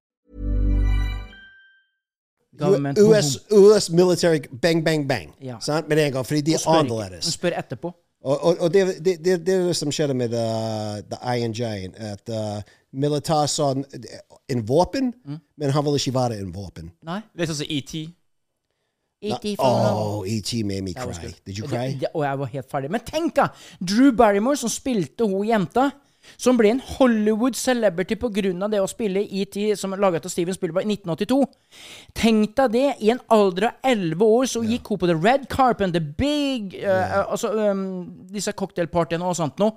S2: Government
S3: US, US military bang, bang, bang.
S2: Ja.
S3: Sant? Med en gang, fordi
S2: Og
S3: de er
S2: spør ikke.
S3: annerledes.
S2: Men spør etterpå.
S3: Og, og, og det, det, det, det er det som skjedde med uh, The Iron Giant. At uh, militær sa en- en våpen,
S2: Mm.
S3: men han ville ikke være en våpen.
S2: Nei.
S4: Litt sånn som ET.
S2: E.T.
S3: Oh, E.T. made me
S2: That was
S3: cry.
S2: good.
S3: Did you
S2: Og
S3: cry?
S2: Det, det, og jeg var helt ferdig. Men tenk, da! Drew Barrymore, som spilte hun jenta, som ble en Hollywood celebrity pga. det å spille ET, som er laget av Steven Spielberg i 1982. Tenk deg det! I en alder av 11 år så gikk hun på The Red Carpet, The Big eh, Altså um, disse cocktailpartyene og sånt noe,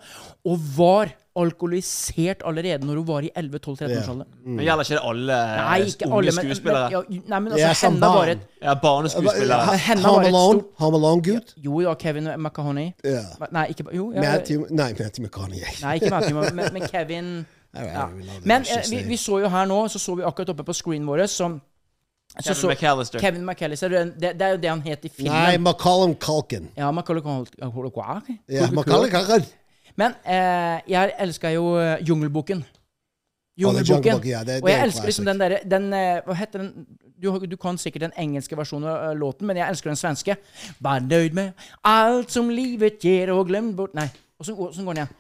S2: og var alkoholisert allerede når hun var i 11-12-13-årsalderen.
S4: Men gjelder ikke det alle eh,
S2: Nei, ikke
S4: unge
S2: alle, men, men,
S4: skuespillere?
S2: ja, nei, men
S3: Ja,
S2: altså,
S3: som
S2: henne var
S3: barn.
S2: et
S4: ja, barneskuespillere.
S3: Ha-
S2: Henne var
S3: Home
S2: et
S3: Alone?
S2: stort-
S3: Home Alone-gutt?
S2: Jo, ja, Kevin McCahoney.
S3: Ja.
S2: Nei, ikke jo, ja,
S3: Matthew Nei, Matthew McConaughey.
S2: Nei, ikke Matthew, men, men Kevin
S3: All right, I
S2: ja.
S3: don't even know the
S2: Men
S3: person's
S2: eh, vi,
S3: name.
S2: vi så jo her nå, så så vi akkurat oppe på screenen vår som
S4: Kevin McAllister.
S2: Kevin McAllister. Det, det er jo det han het i
S3: Nei,
S2: filmen.
S3: McCollum Culkin.
S2: ja, Macaulay Cul- Cul- Cul-
S3: Ja, Macaulay Culkin.
S2: Men eh, jeg elska jo eh, Jungelboken.
S3: Jungle Book,
S2: Jungelboken.
S3: ja, det- det
S2: og
S3: er en
S2: jeg elsker liksom den
S3: classic.
S2: derre den, eh, Hva heter den du, har- du kan sikkert den engelske versjonen av eh, låten, men jeg elsker den svenske. Vær nøyd med alt som livet gir, og glem bort Nei, åssen går åssen går den igjen?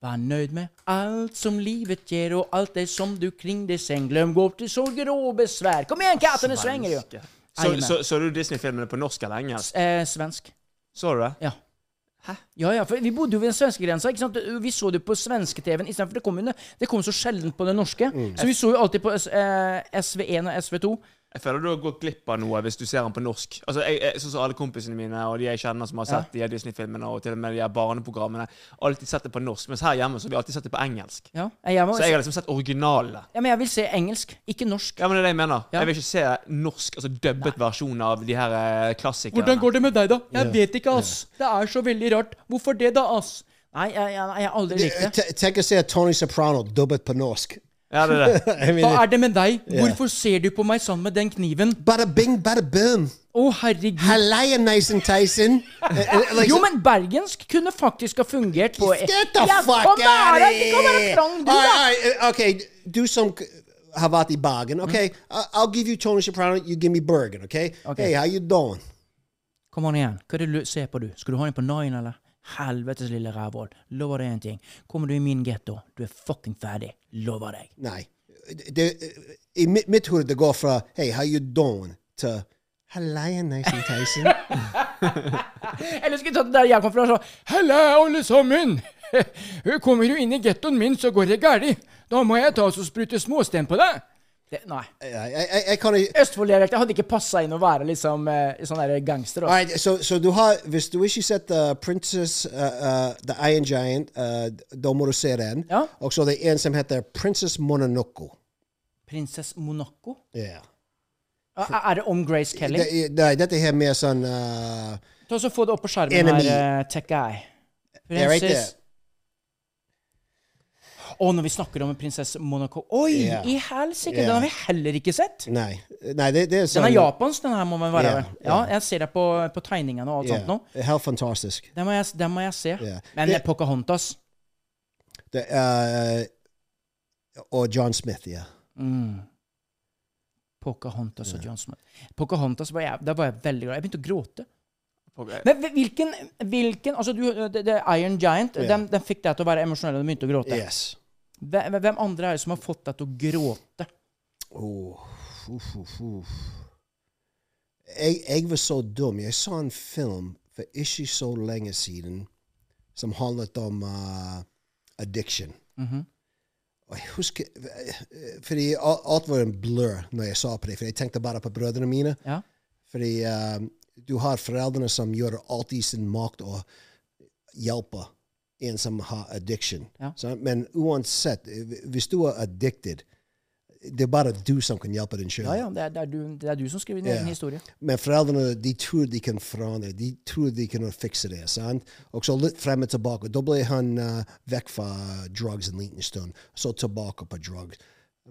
S2: Vær nøyd med alt som livet gir, og alt det som du kring deg seng. Glem bort til sorger og besvær. Kom igjen, kattene svinger jo!
S4: Svenske.
S2: Nei,
S4: Så,
S2: men-
S4: så, så du Disney-filmene på norsk eller engelsk?
S2: Eh, svensk.
S4: Så du det?
S2: Ja. Ja, ja, for vi bodde jo ved den svenske grensa. ikke sant? Vi så det på svenske-TV-en istedenfor. Det kom jo det kom så sjelden på den norske. Så vi så jo alltid på S- eh, SV1 og SV2.
S4: Jeg føler du har gått glipp av noe hvis du ser den på norsk. Altså, jeg, jeg, sånn som Alle kompisene mine og de jeg kjenner som har sett de her Disney-filmene og til og med de her barneprogrammene, alltid sett det på norsk. Mens her hjemme så har vi alltid sett det på engelsk.
S2: Ja, Eh, jeg var,
S4: Så jeg har liksom sett originalene.
S2: ja, men jeg vil se engelsk, ikke norsk.
S4: Ja, men det er det jeg mener.
S2: Ja.
S4: Jeg vil ikke se norsk, altså dubbet versjon av de her eh, klassikerne.
S2: Hvordan går det med deg, da? Jeg vet ikke, ass. Det er så veldig rart. Hvorfor det, da, ass? Nei, jeg, jeg, jeg har aldri likt det.
S3: T- Tenk å se Tony Soprano dubbet på norsk.
S4: Ja, det er det.
S3: I mean,
S2: Hva er det med deg? Hvorfor ser du på meg sånn med den kniven?
S3: Bada bing, bada boom.
S2: Å, herregud.
S3: Halleia, Nathan Tyson. Eh, eh, like-
S2: Jo, men bergensk kunne faktisk ha fungert på
S3: Get the
S2: Ja,
S3: fuck
S2: kom
S3: out
S2: her,
S3: of
S2: da! Du kan være
S3: here!
S2: klang, du,
S3: All
S2: da!
S3: right, all right, okay, do some Havati
S2: Mm.
S3: bargain. Okay, I- I'll give you Tony Soprano. You give me Bergen. Okay?
S2: Okay.
S3: Hey, how you doing?
S2: Kom an igjen. Hva er det du ser på, du? Skal du ha den på Nine, eller? Helvetes lille rævhål. Lover deg en ting. Kommer du i min getto, du er fucking ferdig. Lover deg.
S3: Nei. Det, I mitt, mitt hode det går fra hey, how you doing til Halleia, Nathan Tyson.
S2: Eller skal vi ta det der jeg kom fra, så Halla, alle sammen! Kommer du inn i gettoen min, så går det gærlig. Da må jeg ta og sprute småsten på deg. Det, nei.
S3: Ja, jeg, jeg, jeg kan ikke
S2: Østfold-dialekt hadde ikke passa inn å være liksom eh, sånn der gangster. da.
S3: All right, så, så du har, hvis du ikke har sett uh, Princess, uh, uh, The Iron Giant, uh, da må du se den.
S2: Ja.
S3: Og så det er en som heter Princess Mononoke.
S2: Prinsess Monaco?
S3: Yeah.
S2: Er, er det om Grace Kelly?
S3: Det, nei, dette her er mer sånn uh,
S2: Ta og så Få det opp på skjermen
S3: Enemy.
S2: her, uh, tech guy.
S3: Yeah, right there.
S2: Prinsess Å, når vi snakker om en prinsesse Monaco Oi,
S3: Ja.
S2: i helsike!
S3: Ja.
S2: Den har vi heller ikke sett.
S3: Nei. nei det, det er sånn
S2: Den er japansk, den her må man være.
S3: Ja,
S2: vel? Ja, jeg ser det på, på tegningene og alt sånt
S3: Yeah.
S2: nå.
S3: Helt fantastisk.
S2: Den må jeg, den må jeg se.
S3: Ja.
S2: Men
S3: Det-
S2: Pocahontas
S3: Det, uh, og John Smith, ja.
S2: mm. Pocahontas og John Smith. Pocahontas var jeg, da var jeg veldig glad. Jeg begynte å gråte. Men hvilken, hvilken Altså, du, det, det er Iron Giant.
S3: Ja.
S2: Den, den fikk deg til å være emosjonell, og du begynte å gråte.
S3: Yes.
S2: Hvem, hvem andre er det som har fått deg til å gråte?
S3: Oh, uff, uff, uff. Jeg, jeg var så dum. Jeg så en film for ikke så lenge siden som handlet om uh, addiction. Og jeg husker eh, Fordi alt alt var en blur når jeg så på det, for jeg tenkte bare på brødrene mine.
S2: Ja.
S3: Fordi eh, du har foreldrene som gjør alt i sin makt å hjelpe en som har addiction.
S2: Ja.
S3: Sant? men uansett, eh, hvis du er addicted, det er bare du som kan hjelpe din sjøl.
S2: Ja, ja, det er, det, er du, det er du som skriver din
S3: Ja.
S2: egen historie.
S3: Men foreldrene de tror de kan forandre, de tror de kan fikse det. sant? Og så litt frem og tilbake. Da ble han eh, vekk fra drugs en liten stund, så tilbake på drugs.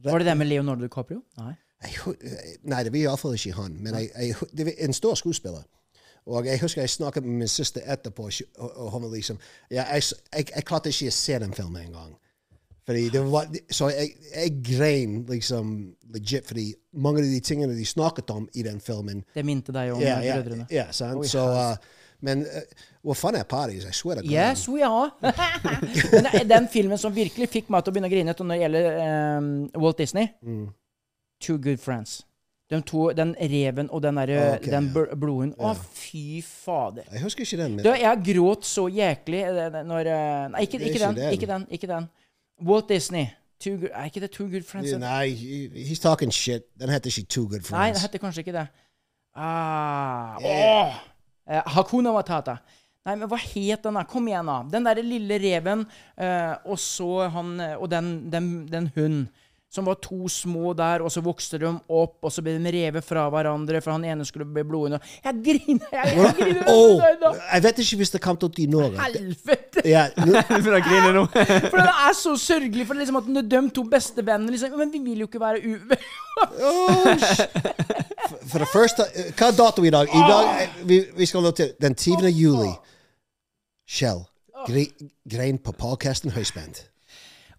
S2: Var det det med Leonardo DiCaprio? Nei.
S3: e Jeg, hu- eh, nei, det var iallfall ikke han, men jeg, jeg, hu- det var en stor skuespiller. Og jeg husker jeg snakket med min søster etterpå, og hun- og hun var liksom ja, jeg, s- jeg, jeg klarte ikke å se den filmen engang. Fordi det var, så jeg, jeg grein liksom e legit, fordi mange av de tingene de snakket om i den filmen
S2: Det minte deg om
S3: Ja, ja,
S2: brødrene.
S3: ja, sant?
S2: Oi,
S3: så, uh, men uh, well, fun at parties, I swear to God.
S2: Yes, we are. Men det er den filmen som virkelig fikk meg til å begynne å grine etter når det gjelder eh, Walt Disney,
S3: Mm.
S2: Two Good Friends. De to, den reven og den, der,
S3: Ah, Ok,
S2: den
S3: ja.
S2: bl- blodhunden. Å, fy fader.
S3: Jeg husker ikke den. Men,
S2: Du, jeg gråt så jæklig eh, når eh, Nei, ikke,
S3: Det er
S2: ikke,
S3: ikke
S2: den,
S3: den.
S2: ikke den. Ikke den. Walt Disney. Two good, er ikke det Two Good Friends?
S3: Yeah, nah, he- he- he's talking shit. Den heter ikke Too
S2: Nei,
S3: Good
S2: det
S3: Friends.
S2: heter kanskje ikke det. Ah,
S3: Yeah.
S2: åh. Eh, Hakuna Matata. Nei, men hva het den da? Kom igjen, da. Den derre lille reven eh, og så han eh, Og den, den, den hunden. Som var to små der, og så vokste de opp, og så ble de revet fra hverandre, for han ene skulle bli blodhund. og- Jeg griner! Jeg, jeg griner!
S3: Åh,
S2: Da-
S3: jeg vet ikke hvis det kom ut i Norge.
S2: Helvete!
S3: Ja, nå-
S4: Jeg begynner å grine nå.
S2: For det er så sørgelig, for liksom at de to bestevennene liksom Men vi vil jo ikke være u...
S3: Åh, oh, sh- For- For det første eh, Hva er dato i dag? I dag eh, vi, vi skal nå til den 10. juli. Kjell, gre, grein på podcasten høyspent.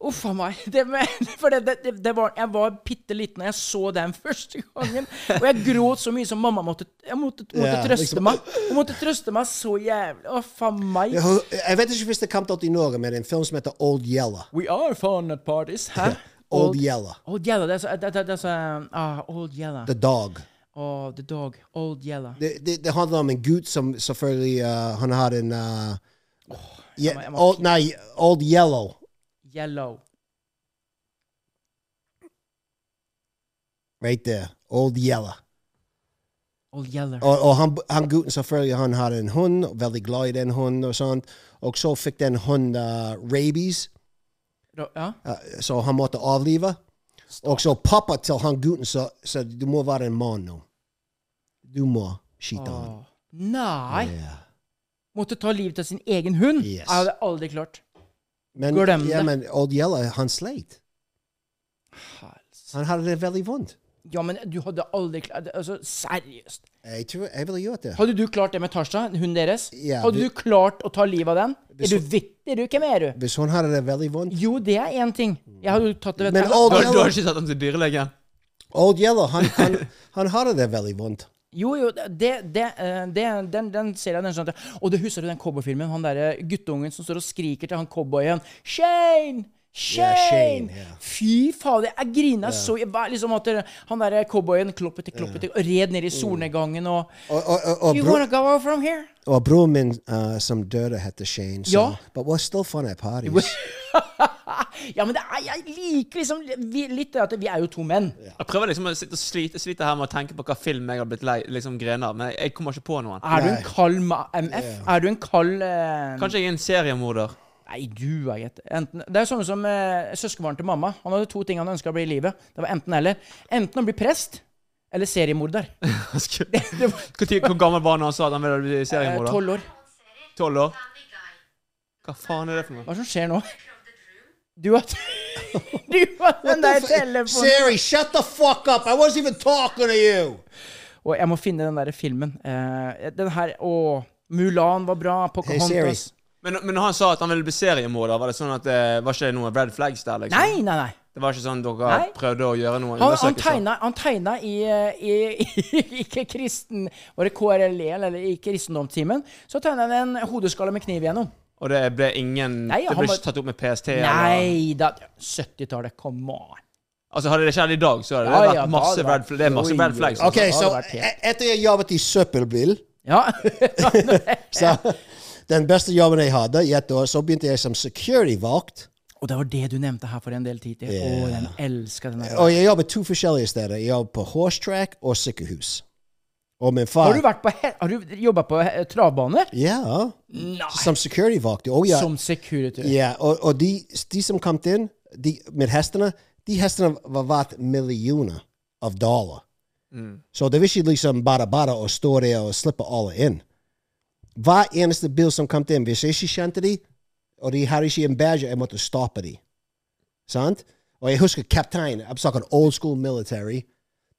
S2: Uff a meg. Det, med- for det, det, det var, jeg var bitte liten da jeg så den første gangen. Og jeg gråt så mye som mamma måtte, jeg måtte, måtte
S3: Ja,
S2: trøste
S3: liksom.
S2: meg. Hun måtte trøste meg så jævlig. Uff a meg.
S3: Jeg, ho- jeg vet ikke hvis det kom ut i Norge, men en film som heter Old Yella.
S2: We are fun at parties. Hæ?
S3: Old Yella.
S2: Old Yella. Det er så det- det- det er så- ah, Old Yella.
S3: The Dog.
S2: Oh, the dog. Old Yella.
S3: Det, det, det handler om en gutt som selvfølgelig eh, Han har en eh, je-
S2: jeg må-
S3: old, Nei, Old Yellow.
S2: Yellow.
S3: Right there. Old Yella.
S2: Old Yeller.
S3: Og, og han, han gutten selvfølgelig han har en hund, veldig glad i den hunden og sånt. Og så fikk den hunden eh, rabies,
S2: Ra- Ja?
S3: eh, så han måtte avlive. Og så pappa til han gutten sa sa, du må være en mann nå. Du må skyte han.
S2: Åh. Nei!
S3: Ja.
S2: Måtte ta livet av sin egen hund?
S3: Yes.
S2: Jeg hadde aldri klart.
S3: Men,
S2: Glem
S3: ja,
S2: det.
S3: men Old Yella, han sleit. Han hadde det veldig vondt.
S2: Ja, men du hadde aldri klart Altså, seriøst.
S3: Jeg tror jeg ville gjort det.
S2: Hadde du klart det med Tasha, hunden deres?
S3: Ja,
S2: hadde
S3: vi-
S2: du klart å ta livet av den?
S3: Vi
S2: Er
S3: så-
S2: du vittig, du? Hvem er du?
S3: Hvis hun hadde det veldig vondt
S2: Jo, det er én ting. Jeg hadde jo tatt det
S3: Men
S2: du.
S4: Du
S3: Old
S4: har, du
S3: Yellow,
S4: har ikke sett ham til dyrlegen?
S3: Old Yellow han, han, han hadde det veldig vondt.
S2: Jo, jo, det, det, eh, det, den, den ser jeg den sånn at- Og du husker du den cowboyfilmen? Han derre guttungen som står og skriker til han cowboyen Shane! Shane!
S3: Shane, ja.
S2: Fy fader, jeg grina så jeg var liksom at det- Han derre cowboyen kloppete, kloppete, og red ned i solnedgangen og
S3: Og, og, og, Mm. og,
S2: You
S3: bro,
S2: wanna go out from here?
S3: og broren min eh, som døde, heter Shane. Så,
S2: Ja.
S3: But we're still fun at parties.
S2: Ah, ja, men det er, jeg liker liksom vi, litt det at vi er jo to menn.
S4: Jeg prøver liksom å sitte og slite, slite her med å tenke på hva film jeg har blitt lei liksom grene av, men jeg kommer ikke på noen.
S2: Er du en kald ma- MF? Er du en kald eh,
S4: Kanskje jeg er en seriemorder.
S2: Nei, du er gitt. Enten Det er jo sånn som eh, søskenbarn til mamma. Han hadde to ting han ønska å bli i livet. Det var enten eller. Enten å bli prest eller seriemorder. eh,
S4: Hvor, tid, hvor gammel var han da han sa at han ville bli seriemorder?
S2: Tolv år.
S4: Tolv år? Hva faen er det for noe?
S2: Hva er det som skjer nå? Du har Du har den der telefonen
S3: Siri, shut the fuck up! I wasn't even talking to you!
S2: Og jeg må finne den der filmen. Eh, den her Å, Mulan var bra.
S3: Siri.
S2: Pocahontas.
S4: Men, men når han sa at han ville bli seriemorder, var det sånn at det var ikke noen red flags der? liksom?
S2: Nei, nei, nei.
S4: Det var ikke sånn dere
S2: Nei.
S4: prøvde å gjøre
S2: Han,
S4: noen
S2: han,
S4: undersøkelser?
S2: tegna, han tegna i, eh, i, i Ikke kristen Var det KRLE, eller i kristendomstimen? Så tegna han en hodeskalle med kniv igjennom.
S4: Og det ble ingen
S2: Nei,
S4: Det
S2: han
S4: ble
S2: var-
S4: ikke tatt opp med PST? Eller,
S2: Nei da 70-tallet, come on.
S4: altså Hadde det skjedd i dag, så hadde det
S2: Ja,
S4: vært
S2: ja, da
S4: masse
S2: hadde det
S4: red, fl- det er masse
S2: vært-
S4: red flags. altså.
S3: Ok,
S2: det
S3: så
S2: hadde vært helt-
S3: e- etter jeg jobbet i søppelbil,
S2: Ja.
S3: så den beste jobben jeg hadde i ett år, så begynte jeg som security-vakt.
S2: Og det var det du nevnte her for en del tid til. Å, den elska den
S3: Og
S2: her.
S3: jeg jobbet to forskjellige steder. Jeg jobbet på horsetrack og sykehus. Og min far
S2: Har du, vært på he- har du jobba på he- travbane?
S3: Ja. Som security-vakt. Oh, ja.
S2: Som security.
S3: Ja, og, og de, de som kom inn de, med hestene, de hestene var verdt millioner av dollar.
S2: Mm.
S3: Så det var ikke liksom bare bare å stå der og slippe alle inn. Hver eneste bil som kom inn, hvis jeg ikke kjente de, og de hadde ikke en badge, jeg måtte e stoppe de. Sant? Og jeg husker kapteinen, I'm talking old school military,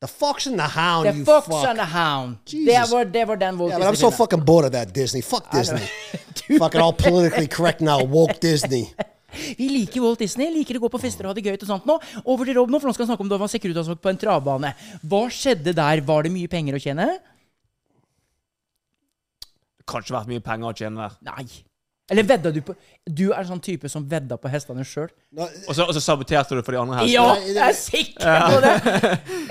S3: The Fox and the Hound,
S2: The
S3: you
S2: Fox
S3: fuck.
S2: and the Hound.
S3: Jesus.
S2: Det var, det var den Walt
S3: Yeah, but I'm so
S2: Disney-filmen.
S3: fucking bored of that Disney. Fuck Disney.
S2: Dude.
S3: fucking all politically correct now, woke Disney.
S2: Vi liker Walt Disney, liker å gå på fester og ha det gøy. og sånt nå. Over til Rob nå, for nå skal han snakke om da han var sekuritasvakt på en travbane. Hva skjedde der? Var det mye penger å tjene?
S4: Kanskje vært mye penger å tjene der.
S2: Nei. Eller vedda du på Du er en sånn type som vedda på hestene sjøl.
S4: Og så, og så saboterte du for de andre her.
S2: Ja, jeg er sikker på det!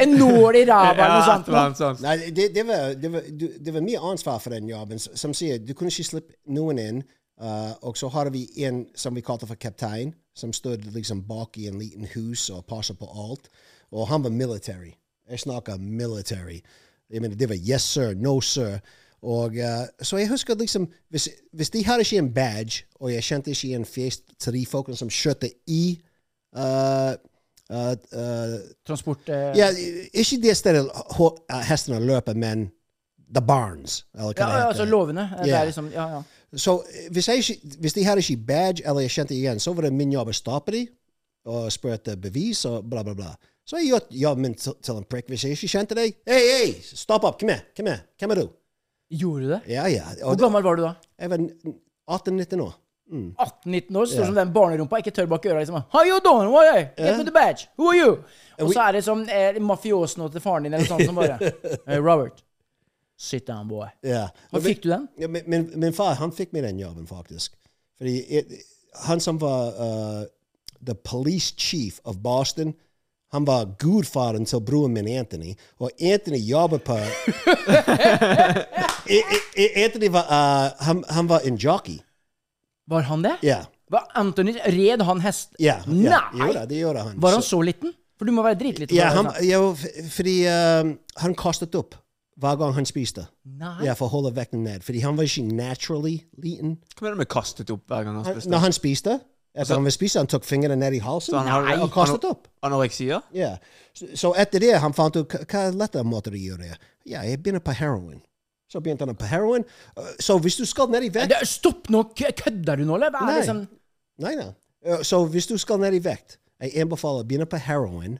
S2: En nål i ræva eller noe
S4: Ja, et
S2: sånt.
S4: eller
S2: nå.
S4: annet sånt.
S3: Nei, det, det, var, det, var, du- det var mye ansvar for den jobben. S- Som sier, du kunne ikke slippe noen inn. eh, og så har vi en som vi kalte for kaptein, som stod liksom bak i en liten hus og passet på alt. Og han var military. Jeg snakker military. Jeg mener, det var yes sir, no sir. Og eh, Så jeg husker liksom hvis, hvis de hadde ikke en badge, og jeg kjente ikke en fjes til de folkene som kjørte i eh, eh, eh,
S2: Transport eh,
S3: ja, ikke det stedet ho- hestene løper, men the barns. Eller hva
S2: ja,
S3: det
S2: ja,
S3: heter.
S2: altså låvene. Eh, Det
S3: Ja.
S2: er liksom Ja, ja.
S3: Så eh, hvis, jeg, ikke- hvis de hadde ikke badge eller jeg kjente igjen, så var det min jobb å stoppe dem og spørre etter bevis og bla, bla, bla. Så jeg gjorde jobben min til, til en prikk. Hvis jeg ikke kjente deg Hei, hei, stopp opp! Kom her! Kom her! Hvem er du?
S2: Gjorde du det?
S3: Ja, ja.
S2: Hvor
S3: Og
S2: gammel var du da?
S3: jeg var 18-19 år.
S2: 18-19 år, står som den barnerumpa, ikke tørr bak øra. Liksom. How you doing? What are you? Get me the badge. Who are you? Og så er det som eh, mafiosen til faren din eller sånn som bare hey, Robert, sit down, boy.
S3: Ja.
S2: Hva fikk du den?
S3: Ja, min, min, min far han fikk meg den jobben, faktisk. Fordi jeg, han som var uh, the police chief of Boston, han var gudfaren til broren min Anthony. Og Anthony jobbet på E, I- I- I- Anthony var, uh, han, han var en jockey.
S2: Var han det?
S3: Ja.
S2: Var Anthony Red han hest?
S3: ja, ja.
S2: Nei!
S3: Jo da, det gjorde han.
S2: Var han
S3: Så-
S2: så liten? For du må være dritliten.
S3: Ja,
S2: for å
S3: han,
S2: være sånn.
S3: ja, f- fordi uh, han kastet opp hver gang han spiste.
S2: Nei.
S3: Ja, For å holde vekten ned. Fordi han var ikke naturally liten.
S4: Hva mener du med kastet opp hver gang han
S3: Han,
S4: spiste?
S3: når han spiste, etter han ville spise, han tok fingrene ned i halsen
S4: Så han har-
S3: og kastet
S4: han-
S3: opp.
S4: Anoreksia?
S3: Ja. Så, så etter det han fant ut "Hva- hva er lettere måter å gjøre det Ja, jeg begynner på heroin. Så begynte han på heroin. Uh, Så hvis du skal ned i vekt
S2: Det- Stopp nå! kø- Kødder du nå, eller? Hva er
S3: Nei.
S2: det som-
S3: Nei, nei. Uh, Så hvis du skal ned i vekt, jeg anbefaler å begynne på heroin.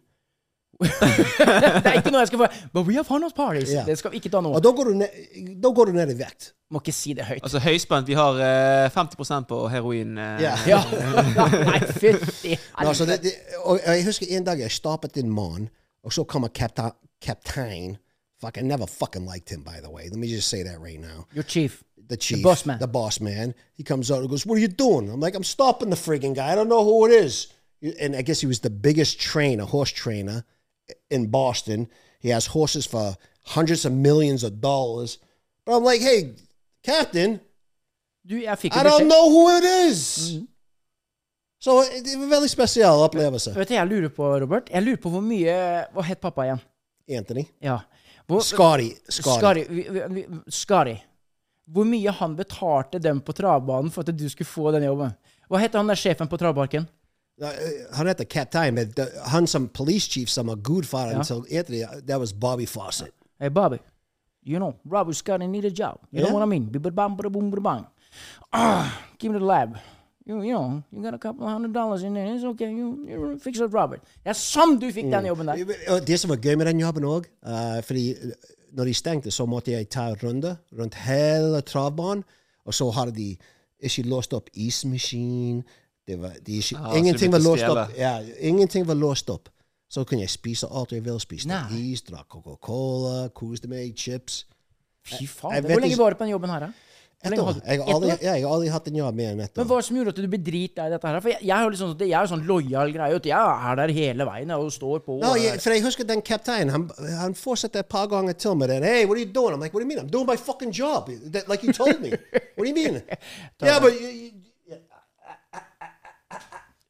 S2: Det er ikke noe jeg skal få But we have fun at parties.
S3: Ja.
S2: Det skal vi ikke ta nå.
S3: Og da går du ned, da går du ned i vekt.
S2: Må ikke si det høyt.
S4: Altså høyspent. Vi har eh, 50 på heroin. eh,
S3: Ja.
S2: Ja. Nei, fytti
S3: Nå, så det, det, og og jeg husker en dag jeg stoppet en mann, og så kommer kaptein, kaptein Fuck, I never fucking liked him, by the way. Let me just say that right now.
S2: Your chief.
S3: the chief,
S2: boss man.
S3: the boss man. He comes out and goes, "What are you doing?" I'm like, "I'm stopping the frigging guy. I don't know who it is." And I guess he was the biggest trainer, horse trainer, in Boston. He has horses for hundreds of millions of dollars. But I'm like, "Hey, captain,
S2: Du, jeg fikk
S3: I
S2: jo
S3: don't
S2: beskjed.
S3: know who it is."
S2: Mm-hmm.
S3: So it, it was very special upplevelse,
S2: Vet du, jeg lurer på, Robert, jeg lurer på hvor mye Hva het pappa igjen?
S3: Anthony.
S2: Ja. Hvor,
S3: Scotty, Scotty.
S2: Skari. vi- vi- vi- Skari. Hvor mye han betalte dem på travbanen for at du skulle få den jobben? Hva heter han der sjefen på travparken?
S3: Han heter Captain, men the- han som police chief som er gudfaren
S2: Ja.
S3: til Anthony, uh, that was Bobby Fawcett.
S2: Hey, Bobby. You know, Robert Scotty need a job. You know
S3: Yeah.
S2: what I mean? Bibba-bam, bada-boom, bada-bang. Ah, give me the lab. You, you know, you got a couple hundred dollars in there. It's okay. You, you fix it, Robert. Det er som du fikk
S3: Mm.
S2: den jobben der.
S3: Og Det som var gøy med den jobben òg, fordi eh, når de stengte, så måtte jeg ta en runde rundt hele travbanen, og så hadde de ikke låst opp ismaskin. Det var, de ikke,
S4: Ah, så
S3: ingenting, var
S4: du begynte å
S3: låst
S4: stjele.
S3: opp, ja, ingenting var låst opp. Så kunne jeg spise alt jeg ville spise.
S2: Nei.
S3: Is, drakk Coca-Cola, koste meg, chips.
S2: Fy
S3: jeg
S2: faen.
S3: vet
S2: Hvor lenge
S3: ikke-
S2: var du på den jobben her, da? Hvor
S3: Ett
S2: lenge
S3: år.
S2: hadde-
S3: Jeg har
S2: Ett
S3: aldri,
S2: år?
S3: ja, jeg har aldri hatt en jobb mer enn ett
S2: Men
S3: år.
S2: hva er det som gjorde at du ble dritlei dette her? For jeg, jeg, har jo liksom, sånn- jeg er jo sånn lojal greie. At jeg er der hele veien og står på.
S3: No,
S2: og-
S3: jeg, for jeg husker den kapteinen. Han, han fortsatte et par ganger til med den. Hey, what are you doing? I'm like, what do you mean? I'm doing my fucking job. That, like you told me. what do you mean? yeah, but you, you,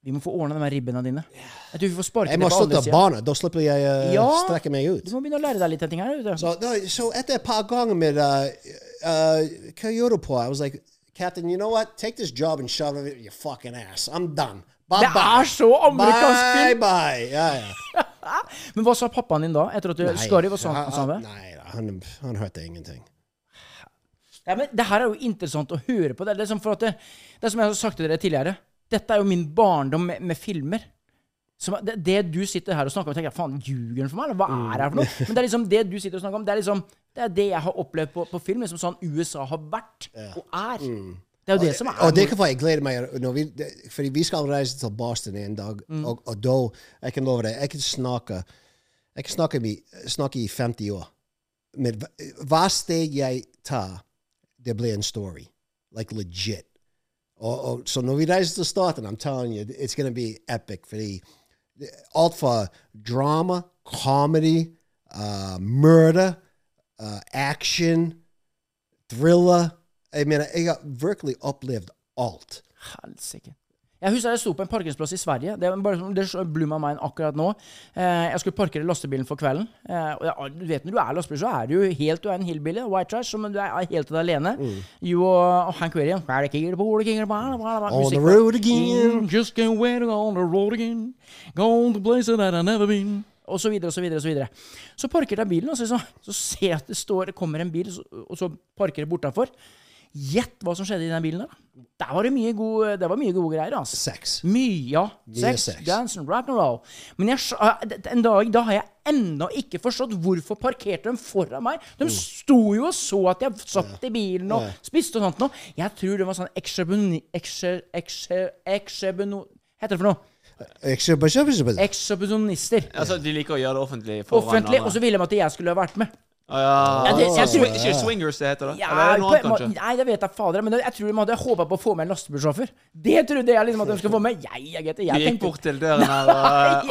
S2: Vi må få ordna de her ribbene dine. Jeg tror vi får sparket
S3: jeg
S2: det
S3: må
S2: på
S3: slutte
S2: alle
S3: å
S2: sider.
S3: bane. Da slipper jeg uh,
S2: Ja.
S3: strekke meg
S2: Du
S3: ut.
S2: må begynne å lære deg litt ting her. vet du.
S3: Så, no, så etter et par ganger med uh, uh, Hva gjør du på? I was like, Captain, you know what? Take this job and shove it in your fucking ass. I'm done. Bye,
S2: Det er så amerikansk
S3: Bye,
S2: film!
S3: bye. Ja, ja.
S2: Men hva sa pappaen din da? Etter at du Skari var sånn han sa det?
S3: Nei, han, han hørte ingenting.
S2: Ja, men det her er jo interessant å høre på. Det er, liksom for at det, det er som jeg har sagt til dere tidligere. Dette er jo min barndom med, med filmer. som, det, det du sitter her og snakker om, tenker jeg faen, ljuger han for meg, eller hva er det her for noe? Men det er liksom det du sitter og snakker om, det er liksom det er det jeg har opplevd på, på film, liksom sånn USA har vært og er. Det er jo det som er
S3: Mm. Og det er hvorfor jeg gleder meg. Når vi, det- fordi vi skal reise til Boston en dag, og, og da Jeg kan love deg, jeg kan snakke Jeg kan snakke, med, snakke i 50 år. Men hva- hva sted jeg tar, det blir en story. Like legit. Oh, Og, og, så når vi reiser til staten, I'm telling you, it's gonna be epic. Fordi det- alt fra drama, comedy, uh, murder, uh, action thriller. Jeg mener, jeg har virkelig opplevd alt.
S2: Helsike. Jeg husker jeg sto på en parkeringsplass i Sverige. Det, er bare, sånn- det blue my mind akkurat nå. Eh, jeg skulle parkere lastebilen for kvelden. Eh, og jeg, du vet Når du er lastebil, så er du jo helt du er en hillbilly. White trash. Men du er er helt til deg alene.
S3: Mm.
S2: You og og Hank William On
S3: On the road again.
S2: Just can't wait on the road again. Going to places that I've never been. Og så videre og så videre. og Så videre. Så parkerte jeg bilen, og så, så, så ser jeg at det står, det kommer en bil, så, og så parkerer jeg bortafor. Gjett hva som skjedde i den bilen der. da. Der var det mye gode, det var mye gode greier. Altså.
S3: Sex.
S2: Mye, ja.
S3: Mye
S2: Sex,
S3: sex.
S2: dancing, rock and roll. Men jeg, skj- eh, en dag da har jeg ennå ikke forstått hvorfor parkerte de foran meg. De sto jo og så at jeg satt i bilen og spiste og sånt noe. Jeg tror det var sånn eksjebuni... Eksjebino... Heter det for noe?
S3: Exhibition.
S2: Eksjebisjonister.
S4: Altså, de liker å gjøre det offentlig foran
S2: Offentlig.
S4: andre.
S2: Og så ville de at jeg skulle ha vært med.
S4: Å, ja.
S2: Ja, det- jeg tror-
S4: Swi- Ikke swingers det heter, da?
S2: Ja,
S4: Eller er det noe annet,
S2: på en måte-
S4: kanskje?
S2: nei, det vet jeg fader. Men jeg tror de hadde håpa på å få med en lastebilsjåfør. Det trodde jeg liksom at de skulle få med. Jeg, jeg, jeg,
S4: Vi
S2: jeg
S4: gikk
S2: tenkte
S4: bort til døren her og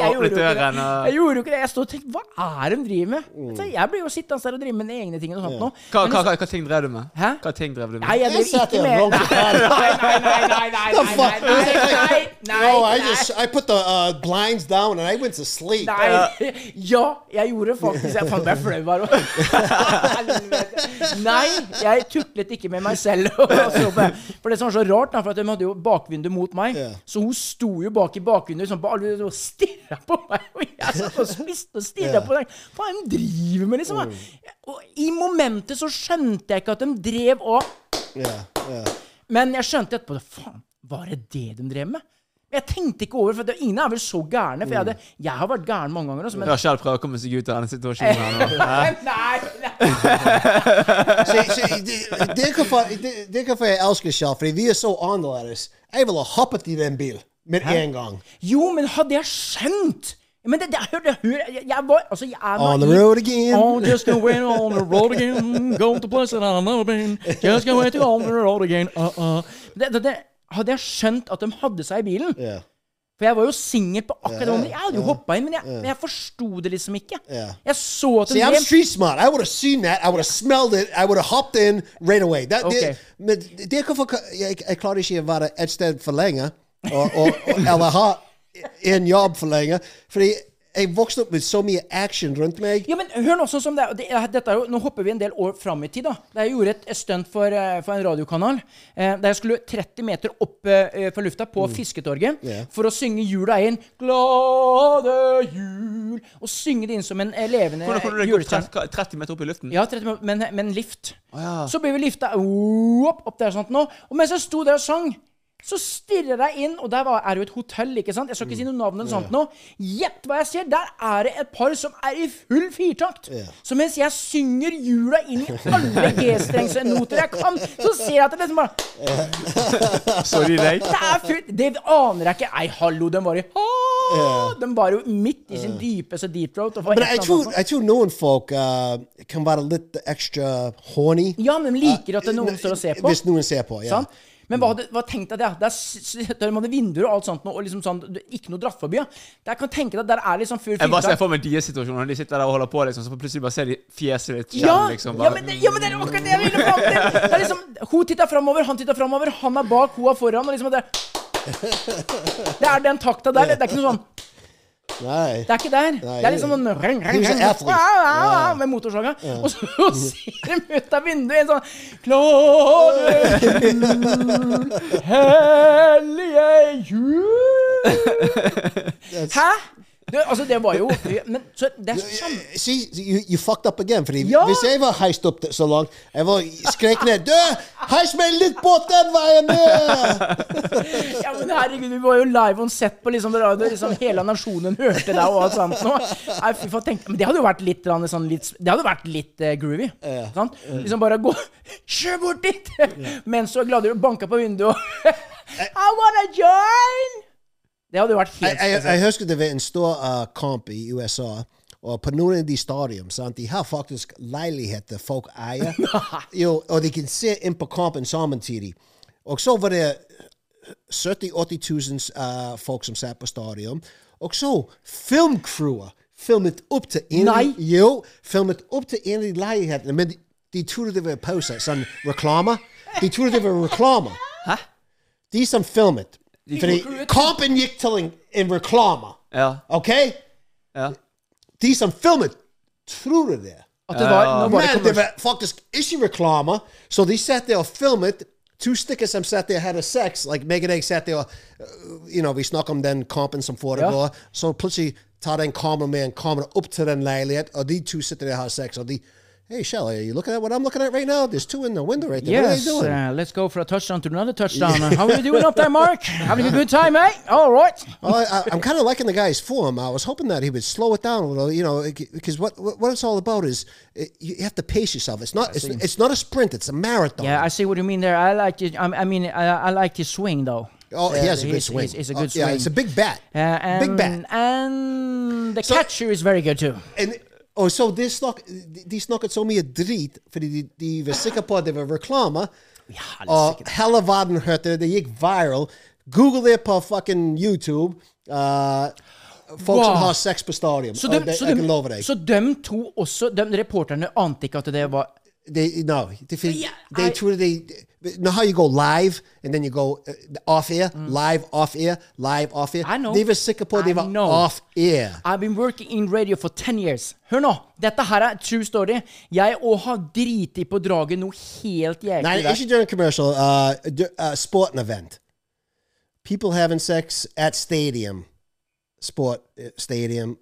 S2: jeg gjorde
S4: åpnet
S2: jo ikke det.
S4: døren.
S2: Jeg
S4: Og...
S2: gjorde jo ikke det. Jeg stod og tenkte Hva er det de driver med? Altså, jeg blir jo sittende der og drive med mine egne ting og sånt nå.
S4: Hva,
S2: Men
S4: hva,
S2: altså-
S4: hva, hva ting drev du med?
S2: Hæ?
S4: Hva ting drev du med?
S2: Nei, jeg
S3: Jeg
S2: driver
S3: satt
S2: ikke
S3: der
S2: med
S3: og ronket.
S2: Nei, nei, nei, nei, nei,
S3: The
S2: nei,
S3: fuck?
S2: nei, nei, nei,
S3: No, I
S2: nei.
S3: just I put the uh, blinds down and I went to sleep.
S2: Nei. Ja, jeg gjorde faktisk Jeg fant meg flau her òg. Nei, jeg tutlet ikke med meg selv. og så på- For det som var så rart, da, for at de hadde jo bakvindu mot meg,
S3: Ja.
S2: så hun sto jo bak i bakvinduet sånn, på alle- og stirra på meg. Og jeg satt og spiste og stirra på deg. Hva er det de driver med, liksom? Og i momentet så skjønte jeg ikke at de drev og
S3: Yeah, yeah.
S2: men jeg skjønte etterpå at faen, var det det de drev med? Men jeg tenkte ikke over, for det, ingen er vel så gærne. For jeg, hadde, jeg har vært gæren mange ganger. Også, men,
S4: Jeg har selv prøvd å komme seg ut av denne situasjonen her
S2: nei,
S4: nå.
S2: nei, nei.
S3: See, see, det- det er hvorfor det- det er hvorfor jeg elsker Shell, fordi vi er så annerledes. Jeg ville ha hoppet i den bilen med en gang.
S2: Jo, men hadde jeg skjønt Men det, det, hør, det, hør jeg, jeg var Altså, jeg er
S3: On the
S2: naiv.
S3: road again.
S2: Oh, just gonna wait on the road again. Go to places that I've never been. Just gonna wait on the road again. Uh -uh. Det, det, det, hadde jeg skjønt at de hadde seg i bilen
S3: Yeah.
S2: For jeg var jo singel på akkurat det momentet. Jeg hadde jo hoppa inn, men jeg, men jeg forsto det liksom ikke.
S3: Ja.
S2: Jeg så at de
S3: See, I'm
S2: drev-
S3: street smart. I would have seen that. I would have smelled it. I would have hopped in right away. That,
S2: Okay.
S3: Men det er hvorfor jeg, jeg klarer ikke å være et sted for lenge, og, og, og, eller ha en jobb for lenge. Fordi jeg vokste opp med så mye action rundt meg.
S2: Ja, men hør Nå sånn som det er, det er, dette er jo, nå hopper vi en del år fram i tid. da. Da jeg gjorde et et stunt for, eh, for en radiokanal, eh, der jeg skulle 30 meter opp eh, fra lufta på
S4: Mm.
S2: Fisketorget
S3: Ja.
S2: for å synge jula inn 'Glade jul' og synge det inn som en eh, levende
S4: Hvordan kunne du gå
S2: julestjerne.
S4: 30 30 meter opp i luften?
S2: Ja, 30 minutter, men, men lift. Så blir vi lifta opp, opp der sånt nå. Og mens jeg sto der og sang, så stirrer jeg inn, og der var, er jo et hotell, ikke sant? Jeg skal ikke si noe navn
S3: Mm.
S2: eller sånt nå. Gjett hva jeg ser! Der er det et par som er i full firtakt. Så mens jeg synger jula inn i alle G-strengsnoter jeg kan, så ser jeg at det liksom bare
S4: Så de deg?
S2: det er fullt Det aner jeg ikke. Nei, hallo, den var i
S3: Ja.
S2: Den var jo midt i sin dypeste deep throat. og var
S3: Men
S2: helt
S3: jeg
S2: annet
S3: tror,
S2: nå.
S3: jeg tror noen folk eh, kan være litt ekstra horny.
S2: Ja, men de liker at det er noen står og ser på.
S3: Hvis noen ser på, ja.
S2: Sant? Men hva, hadde, hva tenkte jeg det? Der sitter man i vinduer og alt sånt, og liksom sånn, du- ikke noe dratt forbi. Ja. Der kan jeg tenke deg, at der er liksom full
S4: Jeg bare ser
S2: firkant.
S4: for meg deres situasjon når de sitter der og holder på, liksom, så plutselig bare ser de fjeset ditt skjelve,
S2: Ja,
S4: liksom.
S2: ja,
S4: Bare,
S2: men det, ja, men det er akkurat det jeg ville fram til! Det er liksom, hun titter framover, han titter framover, han er bak, hun er foran. Og liksom, det, er, det er den takta der. Det er ikke noe sånn
S3: Nei.
S2: Det er ikke der.
S3: Nei,
S2: det er liksom sånn reng, reng,
S3: He was
S2: reng,
S3: an athlete.
S2: ah, ah, ah, Med motorsaga. Og så ser de ut av vinduet en sånn Klare jul, hellige jul. Hæ? Det, altså, det var jo Men så det er sånn samme
S3: See, you, you fucked up again. Fordi
S2: Ja.
S3: Hvis jeg var heist opp så langt, jeg var skrek ned Du, heis meg litt bort den veien! der!»
S2: Ja, men herregud, vi var jo live on set på liksom, radio, liksom hele nasjonen hørte deg og alt sånt nå. Nei, fy faen, tenk, men det hadde jo vært litt, grann sånn, litt Det hadde vært litt eh, groovy. Sant?
S3: Mm.
S2: Liksom bare gå Kjør bort dit! Mens så glade du banka på vinduet og I wanna join! Det hadde jo vært
S3: jeg,
S2: helt
S3: jeg,
S2: spesielt.
S3: jeg husker det var en stor eh, kamp i USA. Og på noen av de stadion sant? De har faktisk leiligheter folk eier. jo, og de kan se inn på kampen samtidig. Og så var det øh, 70 000-80 000 eh, folk som satt på stadion. Og så filmcrewet filmet opp til en
S2: Nei.
S3: Jo, filmet opp til en av de leilighetene. Men de, de trodde det var pause. Sånn reklame. De trodde det var reklame.
S4: Hæ?
S3: De som filmet. Fordi
S2: gjorde det.
S3: kampen gikk til en, en reklame.
S4: Ja.
S3: OK?
S4: ja.
S3: De som filmet, tror det.
S2: At det var,
S3: Uh,
S2: nå var det
S3: Men det
S2: kommersielt.
S3: var faktisk ikke reklame, så de satt der og filmet. To stykker som satt der og hadde sex. Like, meg og deg satt der og uh, you know, Vi snakker om den kampen som foregår. Så plutselig tar den kamera med en kamera opp til den leilighet, og de to sitter der og har sex. Og de Hey, Shelly, are you looking at what I'm looking at right now? There's two in the window right there.
S2: Yes,
S3: What are they doing?
S2: uh, let's go for a touchdown to another touchdown. Uh, How are you doing up there, Mark? Having a good time, eh? All right.
S3: Well, Oh, I, I, I'm kind of liking the guy's form. I was hoping that he would slow it down a little, you know, because what what it's all about is uh, you you have to pace yourself. It's not it's, it's not a sprint. It's a marathon.
S2: Yeah, I see what you mean there. I like it. I, I mean, uh, I, I like his swing though.
S3: oh,
S2: Uh,
S3: he has a good
S2: he's-
S3: swing.
S2: he's- he's a
S3: Oh,
S2: good
S3: Yeah, it's a
S2: swing.
S3: big bat.
S2: Uh, and,
S3: big bat.
S2: And the
S3: So-
S2: catcher is very good too.
S3: And oh, so this snack, this snack it's only a drit for the the the sicker part of a reclama. Oh, hella vaden hurter. They gick viral. Google it på fucking YouTube. Uh, folks
S2: Wow.
S3: som har sex Uh, på stadion.
S2: Så
S3: Og
S2: de,
S3: det-
S2: så,
S3: jeg kan love
S2: de,
S3: deg.
S2: så de to også de, Reporterne ante ikke at det var
S3: They no, they, feel,
S2: Yeah,
S3: they
S2: I-
S3: Twitter. They know how you go live and then you go uh, off air, live off air, live off air.
S2: Mm. I know.
S3: They were Singapore. They
S2: I
S3: were
S2: know.
S3: off air.
S2: I've been working in radio for 10 years. Hør nå! Dette her er true story. Jeg òg har driti på draget noe helt
S3: Now,
S2: jæklig.
S3: I
S2: der.
S3: should during a commercial, uh, d- uh, sporting event. People having sex at stadium, sport uh, stadium.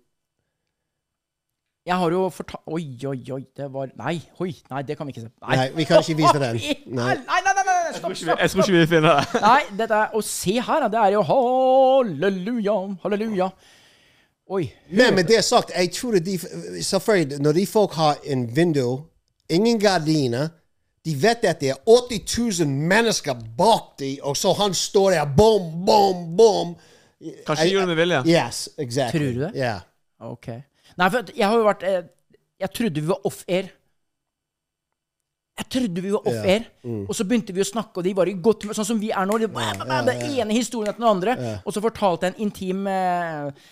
S2: Jeg har jo fortalt Oi, oi, oi. Det var Nei, oi, nei, det kan vi ikke se. Nei,
S3: Nei, vi kan ikke vise den.
S2: Oi,
S3: Nei.
S2: Nei, nei, nei, nei, nei, stopp,
S4: Jeg tror ikke
S2: stopp,
S4: vi- Jeg tror
S2: stopp.
S4: ikke vi finner det.
S2: Nei, dette er Og se her, da. Det er jo halleluja, halleluja. Oi.
S3: Men med det sagt, jeg tror at de Selvfølgelig, når de folk har en vindu, ingen gardiner De vet at det er 80 000 mennesker bak dem, og så oh, han står der bom, bom, bom.
S4: Kanskje de gjorde det med vilje.
S3: Yes, exactly.
S2: Tror du det?
S3: Yeah.
S2: Ok. Nei, for at jeg har jo vært eh, Jeg trodde vi var off-air. Jeg trodde vi var off-air,
S3: Mm.
S2: og så begynte vi å snakke, og de var i godt humør, sånn som vi er nå. Det, bæ, bæ, bæ, det ene historien etter den andre. Og så fortalte jeg en intim, eh,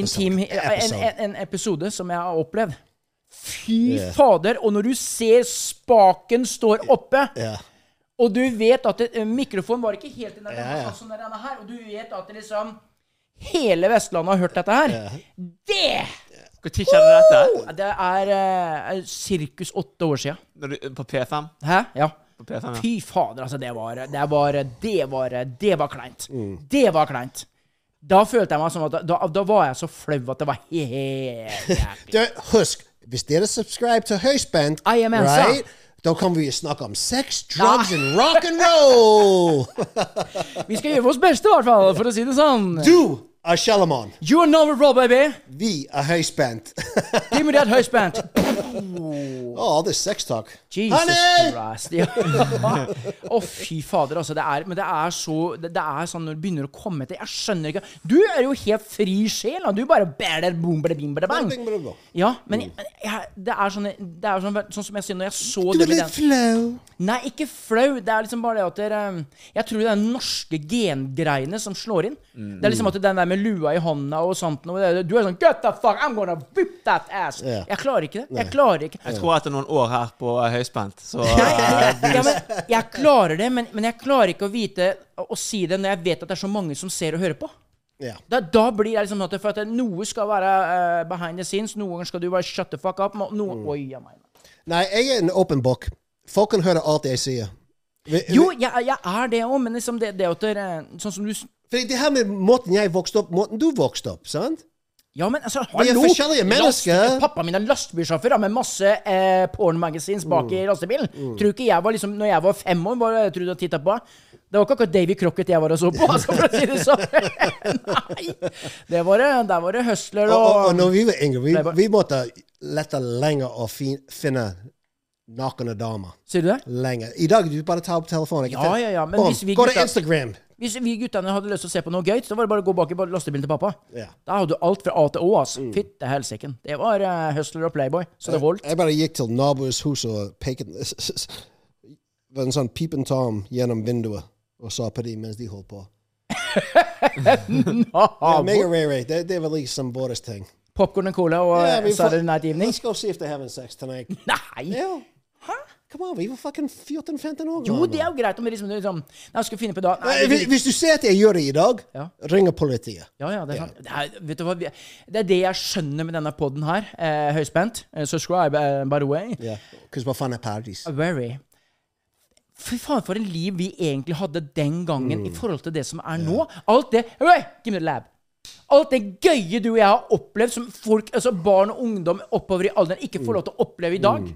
S2: intim eh,
S3: Episode.
S2: En, en, en episode som jeg har opplevd. Fy
S3: Ja.
S2: fader! Og når du ser spaken står oppe,
S3: Ja.
S2: og du vet at det, eh, mikrofonen var ikke helt i nærheten,
S3: Ja, ja.
S2: sånn som denne her, og du vet at det liksom Hele Vestlandet har hørt dette her. Det!
S4: Når skjedde dette?
S2: Det er uh, sirkus åtte år sia.
S4: Når du, på P5?
S2: Hæ? Ja.
S4: På P5, ja.
S2: Fy fader, altså. Det var Det var, det var, det var kleint.
S4: Mm.
S2: Det var kleint. Da følte jeg meg som at Da, da var jeg så flau at det var helt jævlig.
S3: Du, husk, hvis dere subscribe til Høyspent,
S2: I am Elsa.
S3: right? da kommer vi å snakke om sex, drugs and rock and roll!
S2: Vi skal gjøre vårt beste, i hvert fall, for å si det sånn.
S3: Du er Shalomon.
S2: You're number raw, baby.
S3: Vi er Høyspent.
S2: Give me that høyspent.
S3: oh, all this sex talk.
S2: Jesus
S3: Honey!
S2: Christ. Ja. Å, fy fader, altså. Det er, men det er så det, det er sånn når det begynner å komme til Jeg skjønner ikke Du er jo helt fri sjel. da. Du bare bærer, boom, bada, bing, bada, bang.
S3: Bing, bada, bang.
S2: Ja, men jeg, jeg, det er, sånne, det er sånn, sånn som jeg sier når jeg så det
S3: Du er
S2: med
S3: litt
S2: den
S3: flau.
S2: Nei, ikke flau. Det er liksom bare det at dere um, Jeg tror det er norske gengreiene som slår inn.
S3: Mm,
S2: Det er liksom at den der med lua i hånda og sånt noe det- Du er sånn Get the fuck, I'm gonna whip that ass.
S3: Ja.
S2: Jeg klarer ikke det. Jeg klarer ikke
S4: Jeg tror etter noen år her på eh, høyspent, så
S2: Nei,
S4: eh,
S2: jeg, ja, men, jeg klarer det, men, men jeg klarer ikke å vite å, å si det når jeg vet at det er så mange som ser og hører på.
S3: Ja.
S2: Da, da blir jeg liksom sånn at for at det- noe skal være eh, behind the scenes, noen ganger skal du bare shut the fuck up. men Noen, oi, ja, meg.
S3: Nei, jeg er en åpen bok. Folk kan høre alt jeg sier. Vi-
S2: Jo,
S3: vi-
S2: jeg, jeg er det òg, men liksom det, det at dere, Sånn som du s-
S3: For det her med måten jeg vokste opp, måten du vokste opp, sant?
S2: Ja, men altså,
S3: Vi er
S2: hallo!
S3: forskjellige mennesker.
S2: Last- Pappa min er lastebilsjåfør da, med masse eh, porn-magazines bak
S3: Mm.
S2: i lastebilen. Tror ikke jeg var liksom, når jeg var fem år, var, tror du jeg tittet på? Det var ikke akkurat Davy Crockett jeg var og så på, altså, for å si det sånn. Nei! Det var det, der var det Hustler
S3: Og,
S2: og,
S3: og, og når vi var yngre, vi,
S2: Playboy.
S3: vi måtte lette lenger å fin, finne nakne damer.
S2: Sier du det?
S3: Lenger. I dag du bare tar opp telefonen. ikke
S2: Ja,
S3: sant?
S2: ja, ja, men
S3: Boom.
S2: hvis vi
S3: Gå
S2: gutta-
S3: til Instagram.
S2: Hvis vi guttene hadde lyst til å se på noe gøy, så var det bare å gå bak i lastebilen til pappa.
S3: Ja.
S2: Da hadde du alt fra A til Å, altså.
S3: Mm.
S2: Fytte helsiken. Det var eh, Hustler og Playboy, så det holdt.
S3: Jeg bare gikk til naboens hus og pekte Det var en sånn pipen tom gjennom vinduet og sa på dem mens de holdt på.
S2: Ah,
S3: Ja, mega rare, rare. Det, det var liksom vår ting.
S2: Popcorn and cola og
S3: Yeah,
S2: eh, Saturday Night Evening.
S3: Let's go see if they're having sex tonight.
S2: Nei!
S3: Ja. Come on, vi var fucking 14-15 år
S2: Jo, det er jo greit om det liksom, det er liksom Nei, jeg skulle finne på da Nei,
S3: Nei, hvis-
S2: det-
S3: Hvis du ser at jeg gjør det i dag,
S2: Ja.
S3: ringer politiet.
S2: Ja, ja, det er sant. Det er, vet du hva, vi- det er det jeg skjønner med denne poden her. Eh, høyspent. Eh, subscribe, eh, by the way.
S3: Ja, Because hva faen er paradis?
S2: Very. Fy faen, for en liv vi egentlig hadde den gangen i forhold til det som er nå. Alt det Hey, Give me the lab. Alt det gøye du og jeg har opplevd som folk, altså barn og ungdom oppover i alderen ikke får lov til å oppleve i dag.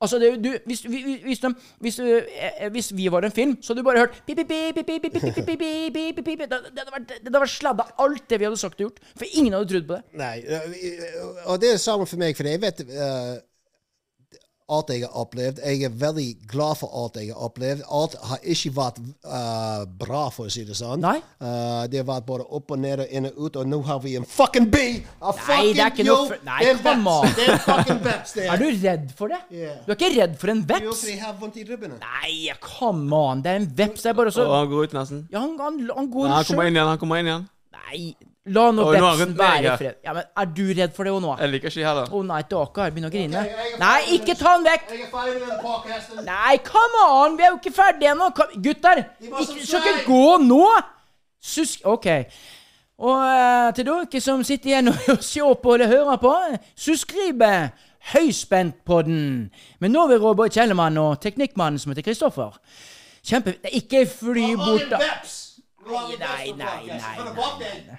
S2: Altså, det, er jo- du, hvis, vi- vi- hvis, de, hvis, eh, eh, hvis vi var en film, så hadde du bare hørt pip, pip, pip, pip, pip, pip, pip, pip, pip, pip, pip, pip, pip. Det det hadde vært, det hadde vært sladda alt det vi hadde sagt og gjort. For ingen hadde trodd på det.
S3: Nei, øh, og det er det samme for meg, for jeg vet øh, alt jeg har opplevd. Jeg er veldig glad for alt jeg har opplevd. Alt har ikke vært øh, bra, for å si det sånn.
S2: Nei.
S3: Øh, det har vært både opp og ned og inn og ut, og nå har vi en fucking bil!
S2: Nei,
S3: A fucking
S2: det er ikke noe fr- Nei,
S3: det er en
S2: come on.
S3: veps! Det er en fucking veps! det
S2: Er du redd for det?
S3: Yeah.
S2: Du er ikke redd for en
S3: Jo,
S2: veps?
S3: for jeg har vondt i ribbene.
S2: Nei, come on. Det er en veps. Det er bare
S4: Og
S2: så
S4: han går ut nesten.
S2: Ja, han, han, han går
S4: Nei, han kommer
S2: sjøl.
S4: inn igjen. han kommer inn igjen.
S2: Nei, la nå
S4: Oi, nå er han
S2: vepsen
S4: rundt meg,
S2: være i
S4: ja.
S2: fred. Ja, men Er du redd for det òg nå? Å
S4: Jeg liker ikke de heller.
S2: nei, Dakar begynner å grine.
S3: Ok, jeg er
S2: Nei,
S3: ferdig.
S2: ikke ta han vekk!
S3: Jeg er ferdig med den podcasten.
S2: Nei, come on! Vi er jo ikke ferdige ennå! Kom- Gutter!
S3: Vi må
S2: Ikke, skal
S3: som
S2: ikke
S3: seg.
S2: gå nå! Susk... OK. Og eh, til dere som sitter igjen og ser på eller hører på, subscribe Høyspentpodden med Novi Robert Kjellemann og teknikkmannen som heter Kristoffer. Kjempe... Ikke fly
S3: Og
S2: bort
S3: en
S2: da.
S3: veps! Nei,
S2: nei, nei, nei,